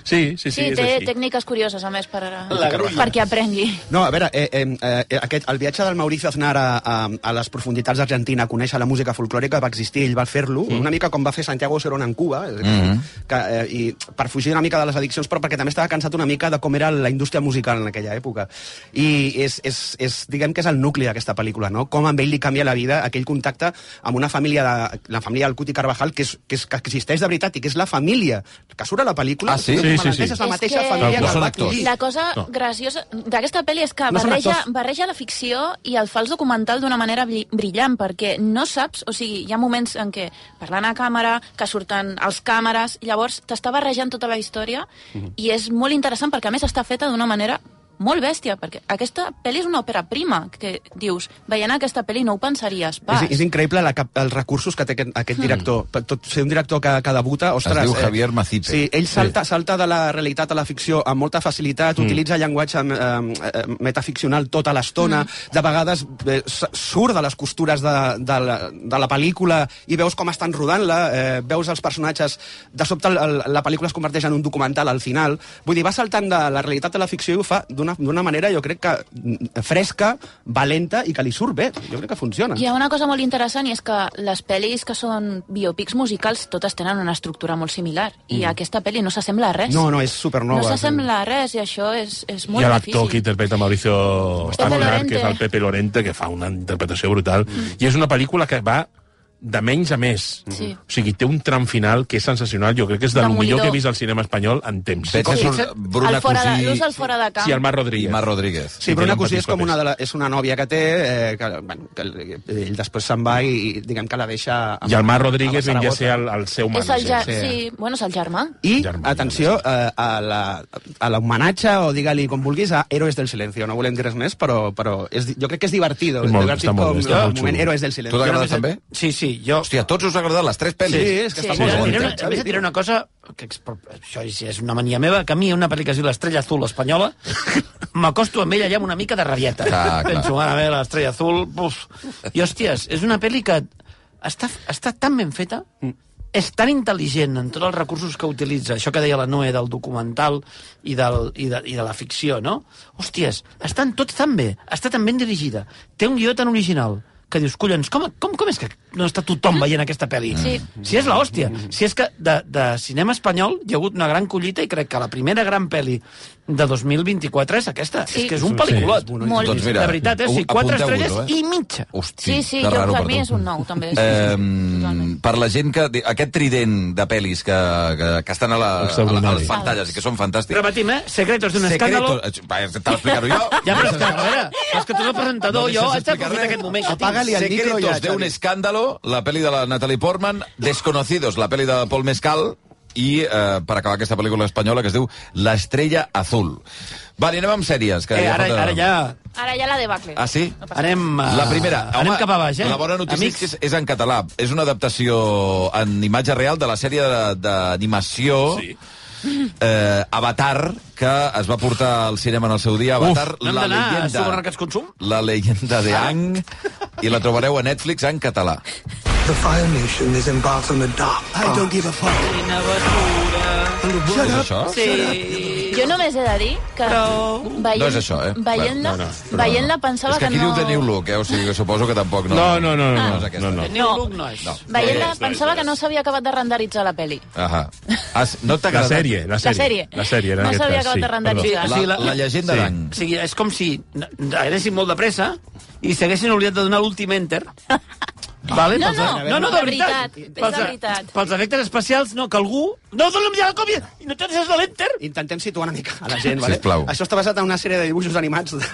Sí,
Sí,
sí, sí, sí és
té
així.
tècniques curioses, a més, per,
La grulla.
perquè aprengui.
No, a veure, eh, eh, eh, aquest, el viatge del Mauricio Aznar a, a, a les profunditats d'Argentina a conèixer la música folclòrica va existir, ell va fer-lo, mm. una mica com va fer Santiago Cerón en Cuba, és a dir,
Mhm.
que, eh, i per fugir una mica de les addiccions, però perquè també estava cansat una mica de com era la indústria musical en aquella època. I és, és, és diguem que és el nucli d'aquesta pel·lícula, no? Com amb ell li canvia la vida aquell contacte amb una família, de, la família del Cuti Carvajal, que, és, que, és, que existeix de veritat i que és la família que surt a la pel·lícula.
Ah, sí?
que
Sí,
malentès
sí, sí.
És la
És
mateixa
que-
família
No
que el
són
va
actors.
acollir.
La cosa
No.
graciosa d'aquesta pel·li és que
No són
barreja,
actors.
barreja la ficció i el fals documental d'una manera bri- brillant, perquè no saps, o sigui, hi ha moments en què parlant a càmera, que surten els
Mhm.
càmeres, llavors t'està barrejant tota la història i és molt interessant perquè a més està feta d'una manera molt bèstia, perquè aquesta pel·li és una òpera prima, que dius, veient aquesta pel·li no ho pensaries pas.
És, és increïble la, cap- els recursos que té aquest, aquest director. Per Tot ser un director que, que debuta... Ostres, eh,
diu Javier Macipe.
Sí, ell salta, salta de la realitat a la ficció amb molta facilitat,
Mm.
utilitza llenguatge eh, eh, metaficcional tota l'estona, de vegades eh, s- surt de les costures de, de, la, de la pel·lícula i veus com estan rodant-la, eh, veus els personatges... De sobte el, el, la pel·lícula es converteix en un documental al final. Vull dir, va saltant de la realitat a la ficció i ho fa d'una d'una manera, jo crec que mm, fresca, valenta i que li surt bé. Jo crec que funciona.
Hi ha una cosa molt interessant i és que les pel·lis que són biopics musicals totes tenen una estructura molt similar i
Mm.
aquesta pel·li no s'assembla a res.
No, no, és supernova.
No s'assembla a res i això és, és molt
Hi ha l'actor que
difícil.
interpreta Mauricio
Pepe
Aguilar,
Lorente. Mm.
que és el Pepe Lorente, que fa una interpretació brutal. I és una pel·lícula que va de menys a més.
Sí.
O sigui, té un tram final que és sensacional. Jo crec que és de lo
Demolidor.
millor que he vist al cinema espanyol en temps.
Veig que surt
el fora de, l'ús del fora de camp.
Sí, el Mar Rodríguez.
Mar Rodríguez.
Sí, però una cosí és com una, de la, és una nòvia que té, eh, que, bueno, que el- ell després se'n va i, i diguem que la deixa... amb-
I el Mar
amb la
Rodríguez vingui a
Saragota.
ser el, el seu
és el
manager.
ja... sí. bueno, és el germà.
I, atenció, eh, a la- a l'homenatge, o digue-li com vulguis, a Héroes del Silencio. No volem dir res més, però, però és, di- jo crec que és divertido.
És molt-
divertit
està molt
com
bé, està
el
molt xulo.
moment Héroes del Silencio.
Tu t'ha agradat
Jo només-
Sí, sí, jo...
Hòstia, a tots us ha agradat les tres pel·lis?
Sí, és que està molt bé. Diré una- a més, et diré una cosa que és, però això és, és una mania meva, que a mi una pel·lícula que es diu l'Estrella Azul espanyola, m'acosto amb ella ja amb una mica de rabieta.
Clar, clar.
Penso, mare meva, l'Estrella Azul... Buf. I, hòsties, és una pel·li que està, està tan ben feta, és tan intel·ligent en tots els recursos que utilitza, això que deia la Noe del documental i, del, i, de, i de la ficció, no? Hòsties, estan tots tan bé, està tan ben dirigida, té un guió tan original, que dius, collons, com, com, com és que no està tothom veient aquesta pel·li?
Sí.
Si és l'hòstia, si és que de, de cinema espanyol hi ha hagut una gran collita i crec que la primera gran pel·li de 2024 és aquesta,
Sí.
és que és un
Sí,
pel·liculot.
és boníssim. Molt. Doncs mira,
de veritat, eh? Sí, quatre
apunteu-vos-ho,
estrelles
eh?
i mitja.
Hosti,
Sí, sí,
que
jo,
raro
per
per
mi
tu.
és un nou, també. Sí, sí, sí.
Eh, per la gent que... Aquest trident de pel·lis que, que, que estan a, la, a, la, a les pantalles i que són fantàstics.
Repetim, eh? Secretos d'un escàndalo.
Secretos... T'ha d'explicar-ho jo.
Ja, però és que, a veure, és que tu no presentador,
No
jo
deixes
haig d'aprofitar
explicar
aquest moment.
Secretos de un escándalo, la peli de la Natalie Portman, Desconocidos, la peli de Paul Mescal, i eh, per acabar aquesta pel·lícula espanyola que es diu La estrella azul. Vale, anem amb sèries. Que
Eh, ara,
falta-
ara ja...
Ara ja la debacle.
Ah, sí?
Anem, eh,
la primera.
anem cap a baix, eh?
La bona notícia
Amics.
és, que és en català. És una adaptació en imatge real de la sèrie de- d'animació... Sí. Eh, Avatar, que es va portar al cinema en el seu dia. Avatar,
no hem
la
d'anar a
leyenda...
supermercats consum?
La leyenda de
Ah.
Ang. I la trobareu a Netflix en català.
The Fire Nation is embarked on a dark I don't give a fuck. Shut
És
up.
això?
Jo només he de dir que veient,
No és això, eh?
veient-la
No, no, però-
veient pensava
és que
que,
aquí diu
no...
The New Look, eh? O sigui, suposo que tampoc no... Ah.
No, no, no, no,
no,
no,
és aquesta.
no, no.
No,
no és.
No.
veient-la
No és, no és,
pensava que no s'havia acabat de renderitzar la pel·li.
Ahà. Has, no t'ha
La
agradat?
sèrie, la
La sèrie.
La sèrie, en
No
aquest
s'havia
cas,
acabat
sí.
de renderitzar.
Ah,
Perdó. La- la llegenda d'Ang.
O sigui, és com si n- anéssim molt de pressa i s'haguessin oblidat de donar l'últim enter. Vale,
No,
pels-
no,
no, no, de
de veritat,
veritat.
és de
Pels-
veritat.
Pels efectes especials, no, que algú... No, dona'm ja la còpia! I no tens de l'enter!
Intentem situar una mica a la gent, vale?
Sisplau.
Això està basat en una sèrie de dibuixos animats de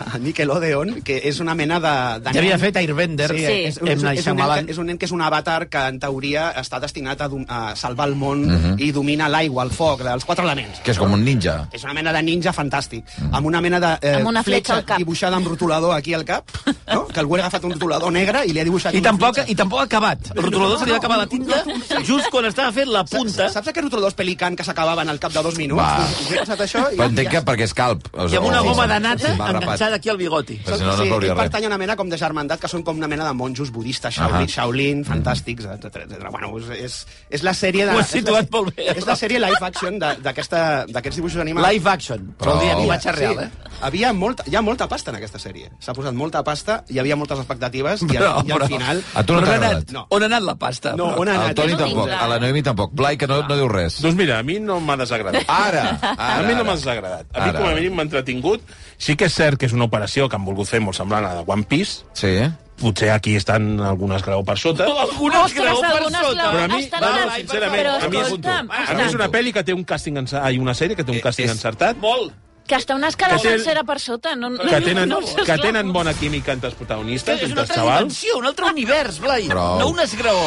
Nickelodeon, que és una mena de... de
Ja havia
nen.
fet Airbender,
sí, eh,
Sí.
és, un-
M.
és, un-
Night
és, un nen
Shyamalan.
que, és un nen que és un avatar que, en teoria, està destinat a, dom- a salvar el món
Mhm.
i domina l'aigua, el foc, els quatre elements.
Que és com un ninja.
És una mena de ninja fantàstic, amb una mena de eh,
Amb una fletxa al cap.
dibuixada amb rotulador aquí al cap, no? que algú ha agafat un rotulador negre i li ha dibuixat
I
una
tampoc,
fletxa.
I tampoc ha acabat. El rotulador se li va acabar la tinta just quan estava fent la punta.
Saps aquests rotuladors pelicans que s'acabaven al cap de dos minuts?
Va.
Doncs us he passat això i...
Però entenc que perquè és calp. O
I amb una
o-
goma de
sí,
nata
va rapat.
enganxada aquí al bigoti.
Però si no, no
sí,
veuria
ell
res.
pertany a una mena com de germandat, que són com una mena de monjos budistes, Shaolin,
Ahà.
Shaolin fantàstics, etc. etc. Bueno, és, és, és la sèrie... De,
Mm. Ho has
és la-
situat molt bé.
És la sèrie live action de- d'aquesta- d'aquests dibuixos animats.
Live action, però
Oh.
vol dir animatge real, eh?
Havia molta, hi ha molta pasta en aquesta sèrie. S'ha posat molta pasta, hi havia moltes expectatives, i, al, i al final...
A tu no
Però
t'ha
on ha
agradat?
anat? On ha anat la pasta?
No, on ha anat?
Al Toni tampoc, a la Noemi tampoc. Blai, que no, no diu res.
Doncs mira, a mi no m'ha desagradat.
Ara, ara,
a mi no
ara.
m'ha desagradat. A mi,
Ara,
com a
ara.
mínim, m'ha entretingut. Sí que és cert que és una operació que han volgut fer molt semblant a la de One Piece.
Sí.
Potser aquí estan algunes grau per sota.
Algunes
Ostres,
graó per
algunes
sota.
graó.
Però a mi,
Estan
va,
anant-
sincerament,
però
a mi, Ah, és,
escolta'm,
Eh,
a mi és una pel·li que té un càsting encertat, i una sèrie que té un càsting encertat.
Molt.
Que està una escala
Que té-
sencera per sota. No, no,
que tenen,
no, no,
que tenen bona química entre els protagonistes,
És
entre
una
els
altra
xavals.
dimensió, un altre univers, Blai.
Prou.
No un esgraó.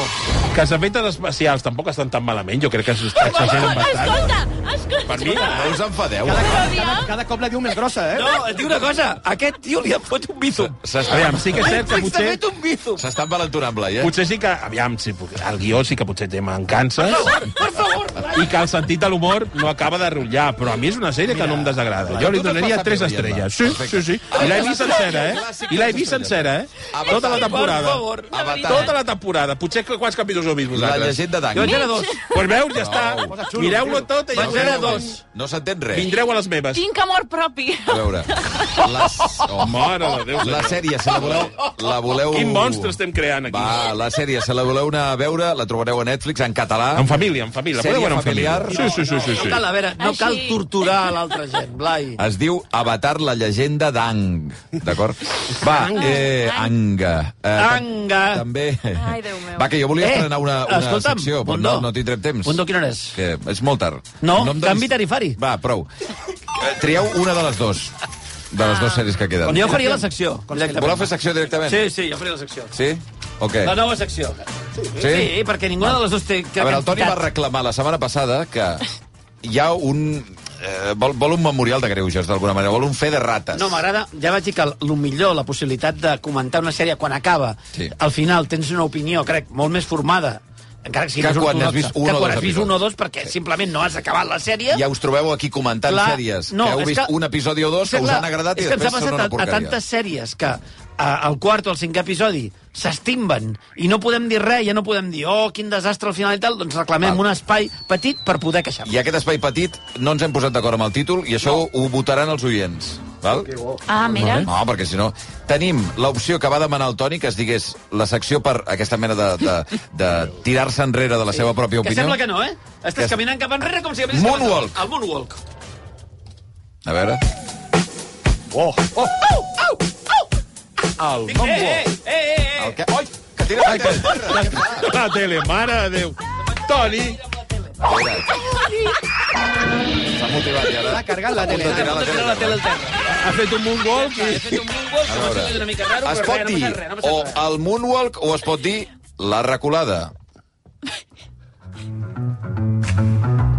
Que els efectes especials tampoc estan tan malament. Jo crec que s'està exagerant bastant.
Escolta, escolta.
Per mi, no us enfadeu.
Cada, cada cop la diu més grossa, eh?
No, et diu una cosa, a aquest tio li han fot un bizo.
Aviam, sí que és cert que potser...
S'ha fet un bizo.
S'està envalentonant, Blai, eh? Potser sí que, aviam, sí, el guió sí que potser té mancances.
Per favor.
i que el sentit de l'humor no acaba de rotllar, però a mi és una sèrie que no em desagrada.
Blai,
Jo li
tu t'has
donaria
passat
3
bé, Emma.
estrelles. Sí,
Perfecte.
sí, sí. I l'he vist sencera, eh? I l'he vist sencera, eh? Tota la temporada.
Per favor, la veritat.
Tota la temporada. Potser que quants capítols heu vist vosaltres?
La llegenda d'Agnes.
Jo en era dos. Doncs pues veus, ja
Posa
està.
xulo,
Mireu-lo
xulo.
tot i
Posa
ja era
xulo.
dos.
No s'entén res.
Vindreu a les meves.
Tinc amor propi.
A veure, la, oh,
Mare de Déu,
la
senyor.
sèrie, se la voleu... La voleu...
Quin monstre estem creant aquí.
Uh. Va, la sèrie, se la voleu anar a veure, la trobareu a Netflix, en català.
En família, en família. La
Sèrie
podeu veure en
familiar. Tota
familiar. Sí, sí, sí, sí.
No cal, a veure, no
Així.
cal torturar a l'altra gent, Blai.
Es diu Avatar, la llegenda d'Ang. D'acord? Va, eh, Anga. Eh, ta-
Anga.
També... Va, que jo volia
Eh,
estrenar una, una
escolta'm,
secció, però
Bundó.
no, no tindrem temps.
Bundó, quina hora és?
Que és molt tard.
No,
em
canvi
tarifari. Va, prou. Eh, Trieu una de les dues. De les dues sèries que queden.
Ah. Jo faria la secció. directament.
Voleu fer secció directament?
Sí, sí, jo faria la secció.
Sí? O què?
La nova secció.
Sí?
sí perquè ninguna de les dues té...
A veure, el Toni va reclamar la setmana passada que hi ha un... Eh, vol, vol un memorial de greuges, d'alguna manera. Vol un fe de rates.
No, m'agrada, ja vaig dir que el el millor, la possibilitat de comentar una sèrie quan acaba,
Sí.
al final tens una opinió, crec, molt més formada, encara que sigui
Que
més
quan has
ortodoxa,
vist un o
que quan
dos
has vist
episodis.
un o dos, perquè simplement no has acabat la sèrie...
Ja us trobeu aquí comentant
Clar,
sèries
no,
que heu
és
vist
que-
un episodi o dos
és
que us
clar,
han agradat i
és que ens
després
ha
són
passat
una
a, a
porqueria.
tantes sèries que a, al quart o al cinquè episodi s'estimben i no podem dir res, ja no podem dir oh, quin desastre al final i tal, doncs reclamem un espai petit per poder queixar-nos.
I aquest espai petit no ens hem posat d'acord amb el títol i això no. ho votaran els oients. Val?
Ah, mira.
No, perquè si no... Tenim l'opció que va demanar el Toni, que es digués la secció per aquesta mena de, de, de tirar-se enrere de la seva pròpia
Que
opinió.
sembla que no, eh? Estàs
Que-
caminant cap enrere com si haguessis...
Moonwalk.
El moonwalk.
A veure...
Oh, oh,
oh, oh,
oh. El
Eh, eh, eh, eh, eh.
El que... Ai, que tira la tele.
La tele, mare de Déu. Toni,
S'ha motivat, ja, ara.
S'ha cargat la tele.
S'ha tirat la tele.
tele al terra.
ha fet un moonwalk i...
A veure, es
res, no
pot dir
passa res, no passa
o el moonwalk o es pot dir la reculada.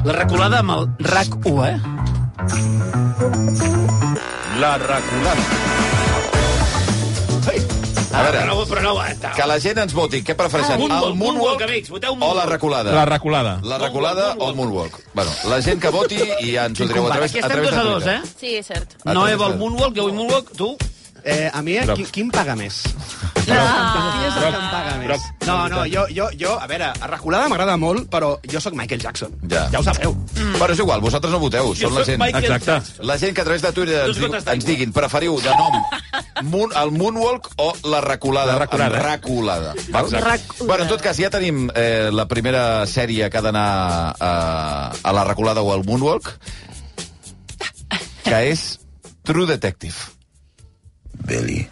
La reculada amb el RAC1, eh?
La reculada. A veure,
Ah, però no, aguanta.
que la gent ens voti. Què
Ah,
prefereixen, el moonwalk
amics, voteu
o la reculada?
La reculada.
La reculada o el moonwalk? Bueno, la gent que voti i ja ens ho direu a través,
Aquí
a
estem
través
dos
de
a dos,
Twitter.
eh?
Sí, és cert.
A
No,
través
Eva,
de-
el moonwalk, jo vull moonwalk, tu?
Eh, a mi, eh, qui, qui em paga més? Qui és el que em paga més? No, no, jo, jo, jo a veure, a Reculada m'agrada molt, però jo sóc Michael Jackson.
Ja.
Ja ho sabeu.
Però és igual, vosaltres no voteu,
Jo
són la
soc
gent.
Michael Exacte.
La gent que a través de Twitter ens,
Dos
diu,
gotes d'aigua.
ens diguin, preferiu de nom moon, el Moonwalk o la reculada?
La reculada.
Amb reculada. val?
Exacte.
Bueno, en tot cas, ja tenim eh, la primera sèrie que ha d'anar eh, a la reculada o al Moonwalk, que és True Detective. Billy.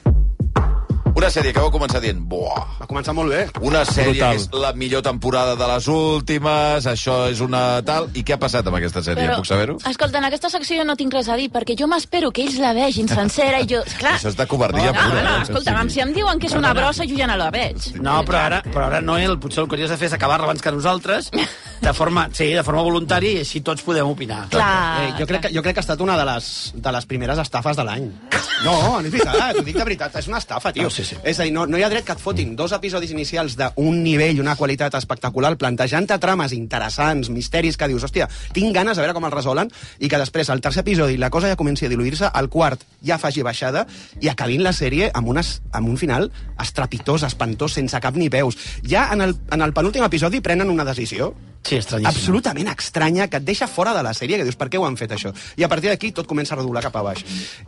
Una sèrie que vau començar dient, buah,
Va començar molt bé.
una sèrie
Brutal.
que és la millor temporada de les últimes, això és una tal... I què ha passat amb aquesta sèrie? Puc saber-ho?
Escolta, en aquesta secció jo no tinc res a dir, perquè jo m'espero que ells la vegin sencera i jo... Clar,
Això és de covardia
no,
pura.
no,
eh?
escolta, si em diuen que és una brossa, jo ja no la veig.
No, però ara, però ara Noel, potser el que hauries de fer és acabar-la abans que nosaltres, de forma, sí, de forma voluntària, i així tots podem opinar.
Eh, jo, crec que, jo crec que ha estat una de les, de les primeres estafes de l'any. Ah, No, no és veritat, ho dic de veritat, és una estafa, tio.
No, sí, sí.
És a dir, no, no hi ha dret que et fotin dos episodis inicials d'un nivell i una qualitat espectacular, plantejant-te trames interessants, misteris que dius, hòstia, tinc ganes a veure com els resolen, i que després, al tercer episodi, la cosa ja comenci a diluir-se, al quart ja faci baixada, i acabin la sèrie amb, unes, amb un final estrepitós, espantós, sense cap ni peus. Ja en el, en el penúltim episodi prenen una decisió,
Sí, estranyíssim.
absolutament estranya que et deixa fora de la sèrie, que dius, per què ho han fet això? I a partir d'aquí tot comença a redolar cap a baix.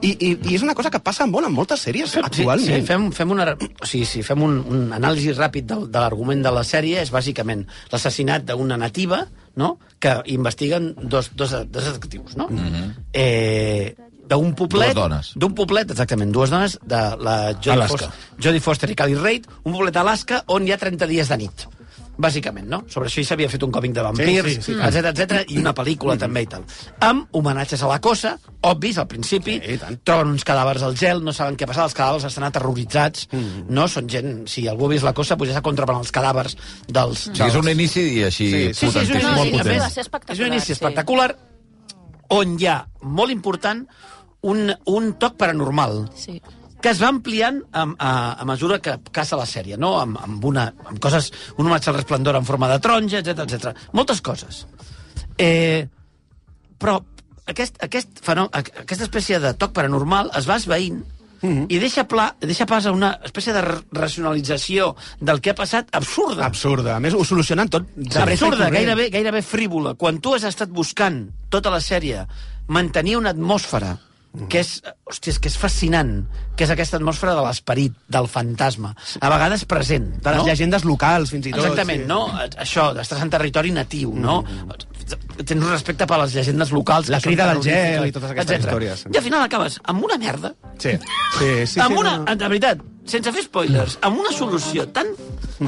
I, i, i és una cosa que passa molt en moltes sèries actualment.
Sí, sí, fem, fem, una, o sigui, si fem un, un anàlisi ràpid de, de l'argument de la sèrie, és bàsicament l'assassinat d'una nativa, no?, que investiguen dos, dos, dos detectius, no? Mm -hmm. eh, d'un poblet...
Dues dones.
D'un poblet, exactament, dues dones, de la Jodie
Alaska.
Foster, Jodie Foster i Cali Reid, un poblet d'Alaska on hi ha 30 dies de nit. Bàsicament, no? Sobre això hi s'havia fet un còmic de vampirs,
Sí, sí, sí,
Mm.
tant.
etc etc i una pel·lícula també i tal. Amb homenatges a la cosa, obvis al principi, troben uns cadàvers al gel, no saben què passar, els cadàvers estan aterroritzats,
Mm.
no? Són gent... Si algú ha vist la cosa, potser s'ha contrapen els cadàvers dels...
O sigui, és un inici i així...
Sí, sí, sí, és un
potentíssim.
inici, a
Va ser
més,
espectacular,
és un inici
sí.
espectacular on hi ha, molt important, un, un toc paranormal
Sí.
que es va ampliant a, a, a mesura que caça la sèrie, no? Amb, amb, una, amb coses, un homenatge al resplendor en forma de taronja, etc etc. Moltes coses. Eh, però aquest, aquest fenò, a- aquesta espècie de toc paranormal es va esveint i deixa, pla, deixa pas a una espècie de r- racionalització del que ha passat absurda.
Absurda. A més, ho solucionen tot. de pressa i
Absurda,
corrent.
gairebé, gairebé frívola. Quan tu has estat buscant tota la sèrie mantenir una atmosfera que és, hòstia, és que és fascinant, que és aquesta atmosfera de l'esperit, del fantasma, a vegades present.
De les
no?
llegendes locals, fins i tot.
Exactament,
sí.
no? Això, d'estar en territori natiu, no? Tens un respecte per les llegendes locals.
Mm. La
que són
crida del
terrorífiques,
gel i totes aquestes
etcètera.
històries.
I al final acabes amb una merda,
Sí. sí, sí
amb
sí,
una,
no.
de veritat, sense fer spoilers, amb una solució tan,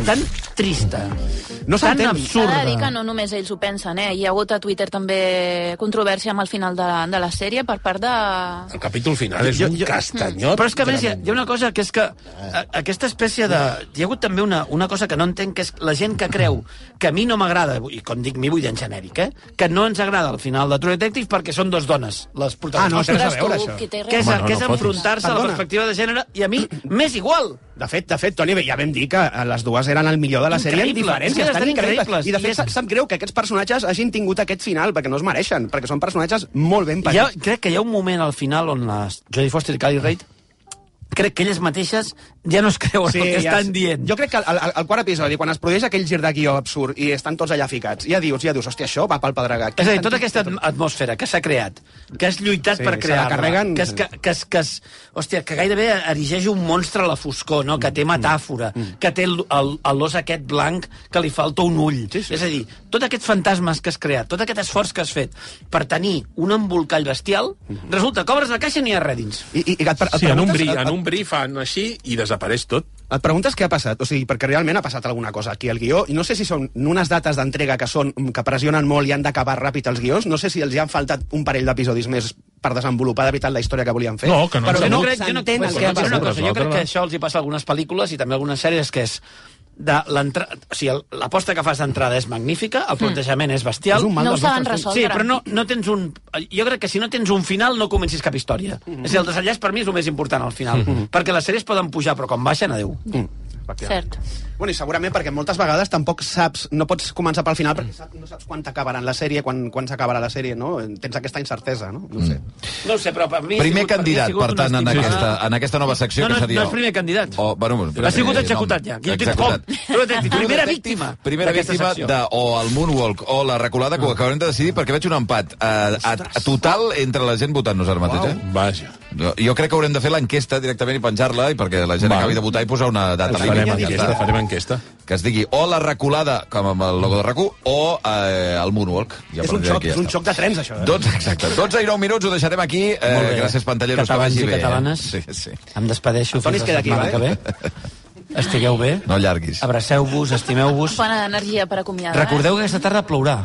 tan trista,
Mm. No
tan
s'entén.
absurda...
S'ha de dir que no només ells ho pensen, eh? Hi ha hagut a Twitter també controvèrsia amb el final de, de la sèrie per part de...
El capítol final és un castanyot.
Però és que, a Ah. més, hi ha, hi ha una cosa que és que a, aquesta espècie de... Hi ha hagut també una, una cosa que no entenc, que és la gent que creu que a mi no m'agrada, i quan dic mi vull dir en genèric, eh? que no ens agrada el final de True Detective perquè són dos dones les
Ah,
protagonistes.
no, té res a veure, això.
Que és,
Bueno,
que és
no fotis.
enfrontar-se a la
Perdona.
perspectiva de gènere i a mi m'és igual.
De fet, de fet, Toni, ja vam dir que eh, les dues eren el millor de la sèrie en
Increïbles,
diferència.
és que
Estan
estan
increïbles.
increïbles.
I, de
I
fet,
és-
sa- sap greu que aquests personatges hagin tingut aquest final, perquè no es mereixen, perquè són personatges molt ben
Hi ha,
petits.
crec que hi ha un moment al final on les Jodie Foster i Cali Reid crec que elles mateixes ja no es creuen sí, el que ja estan dient.
Jo crec que al, al, al quart episodi, quan es produeix aquell gir de guió absurd i estan tots allà ficats, ja dius, ja dius, hòstia, això va pel pedregat.
És a dir, tota aquesta atm- atmosfera que s'ha creat, que has lluitat
Sí,
sí, per
se la
crear-la,
carreguen.
que, es, que, que, es, que, es, hòstia, que gairebé erigeix un monstre a la foscor, no? que té metàfora, que té el- el- el l'os aquest blanc que li falta un ull. Sí, sí. És a dir, tots aquests fantasmes que has creat, tot aquest esforç que has fet per tenir un embolcall bestial, resulta que obres la caixa i no hi ha res dins.
I, i, i et, per, et
Sí, en un
preguntes-
bri,
et-
en un bri fan així i desapareix tot.
Et preguntes què ha passat, o sigui, perquè realment ha passat alguna cosa aquí al guió, i no sé si són unes dates d'entrega que són mm, que pressionen molt i han d'acabar ràpid els guions, no sé si els hi han faltat un parell d'episodis més per desenvolupar de veritat la història que volien fer. però
jo no
no
crec, jo no
s'entén el
pues,
que ha
jo una
passat.
cosa, jo crec que això els hi passa a algunes pel·lícules i també a algunes sèries que és de l'entra- o sigui, el- l'aposta que fas d'entrada és magnífica, el plantejament és bestial.
És un mal No ho dels saben nostres temps.
Sí,
resoldre.
però no, no tens un... Jo crec que si no tens un final no comencis cap història. Mm -hmm. És a dir, el desenllaç per mi és el més important al final, mm -hmm. perquè les sèries poden pujar, però quan baixen, adeu. Mm.
Cert.
Bueno, i segurament perquè moltes vegades tampoc saps, no pots començar pel final perquè saps, no saps quan t'acabaran la sèrie, quan, quan s'acabarà la sèrie, no? Tens aquesta incertesa, no? No ho sé.
No ho sé, però per mi... ha sigut-
Primer
per mi ha
candidat,
sigut
per tant,
una
en
estimada.
aquesta, en aquesta nova secció
No, no,
que seria...
no és primer candidat.
O, bueno,
Ha sigut executat ja. Guillotine
Executat.
Cop. True Detective, Primera víctima.
Primera
d'aquesta
víctima
secció. Ah.
de o el Moonwalk o la reculada que ho acabarem de decidir perquè veig un empat a, a, a total entre la gent votant-nos ara mateix. Eh?
Vaja.
Jo, jo crec que haurem de fer l'enquesta directament i penjar-la i perquè la gent
Val.
acabi de votar i posar una data.
Farem
límit.
enquesta,
Ja està.
farem enquesta.
Que es digui o la reculada, com amb el logo de rac o eh, el Moonwalk. Ja
és, un xoc, és un xoc de trens, això. Eh?
12, exacte. 12 i 9 minuts, ho deixarem aquí.
Molt
Eh,
bé.
gràcies, Pantalleros, que
Catalans
vagi
i
bé. eh?
catalanes.
Sí, sí.
Em despedeixo
Toni
fins
es queda
la
aquí,
setmana
va,
que ve. Estigueu bé.
No llarguis.
Abraceu-vos, estimeu-vos.
Bona energia per acomiadar. eh?
Recordeu que aquesta tarda plourà.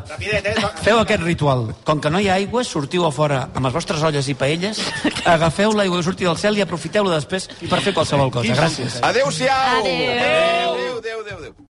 Feu aquest ritual. Com que no hi ha aigua, sortiu a fora amb les vostres olles i paelles, agafeu l'aigua que surti del cel i aprofiteu-la després per fer qualsevol cosa. Gràcies.
Adéu-siau!
Adéu.
Adéu, adéu, adéu.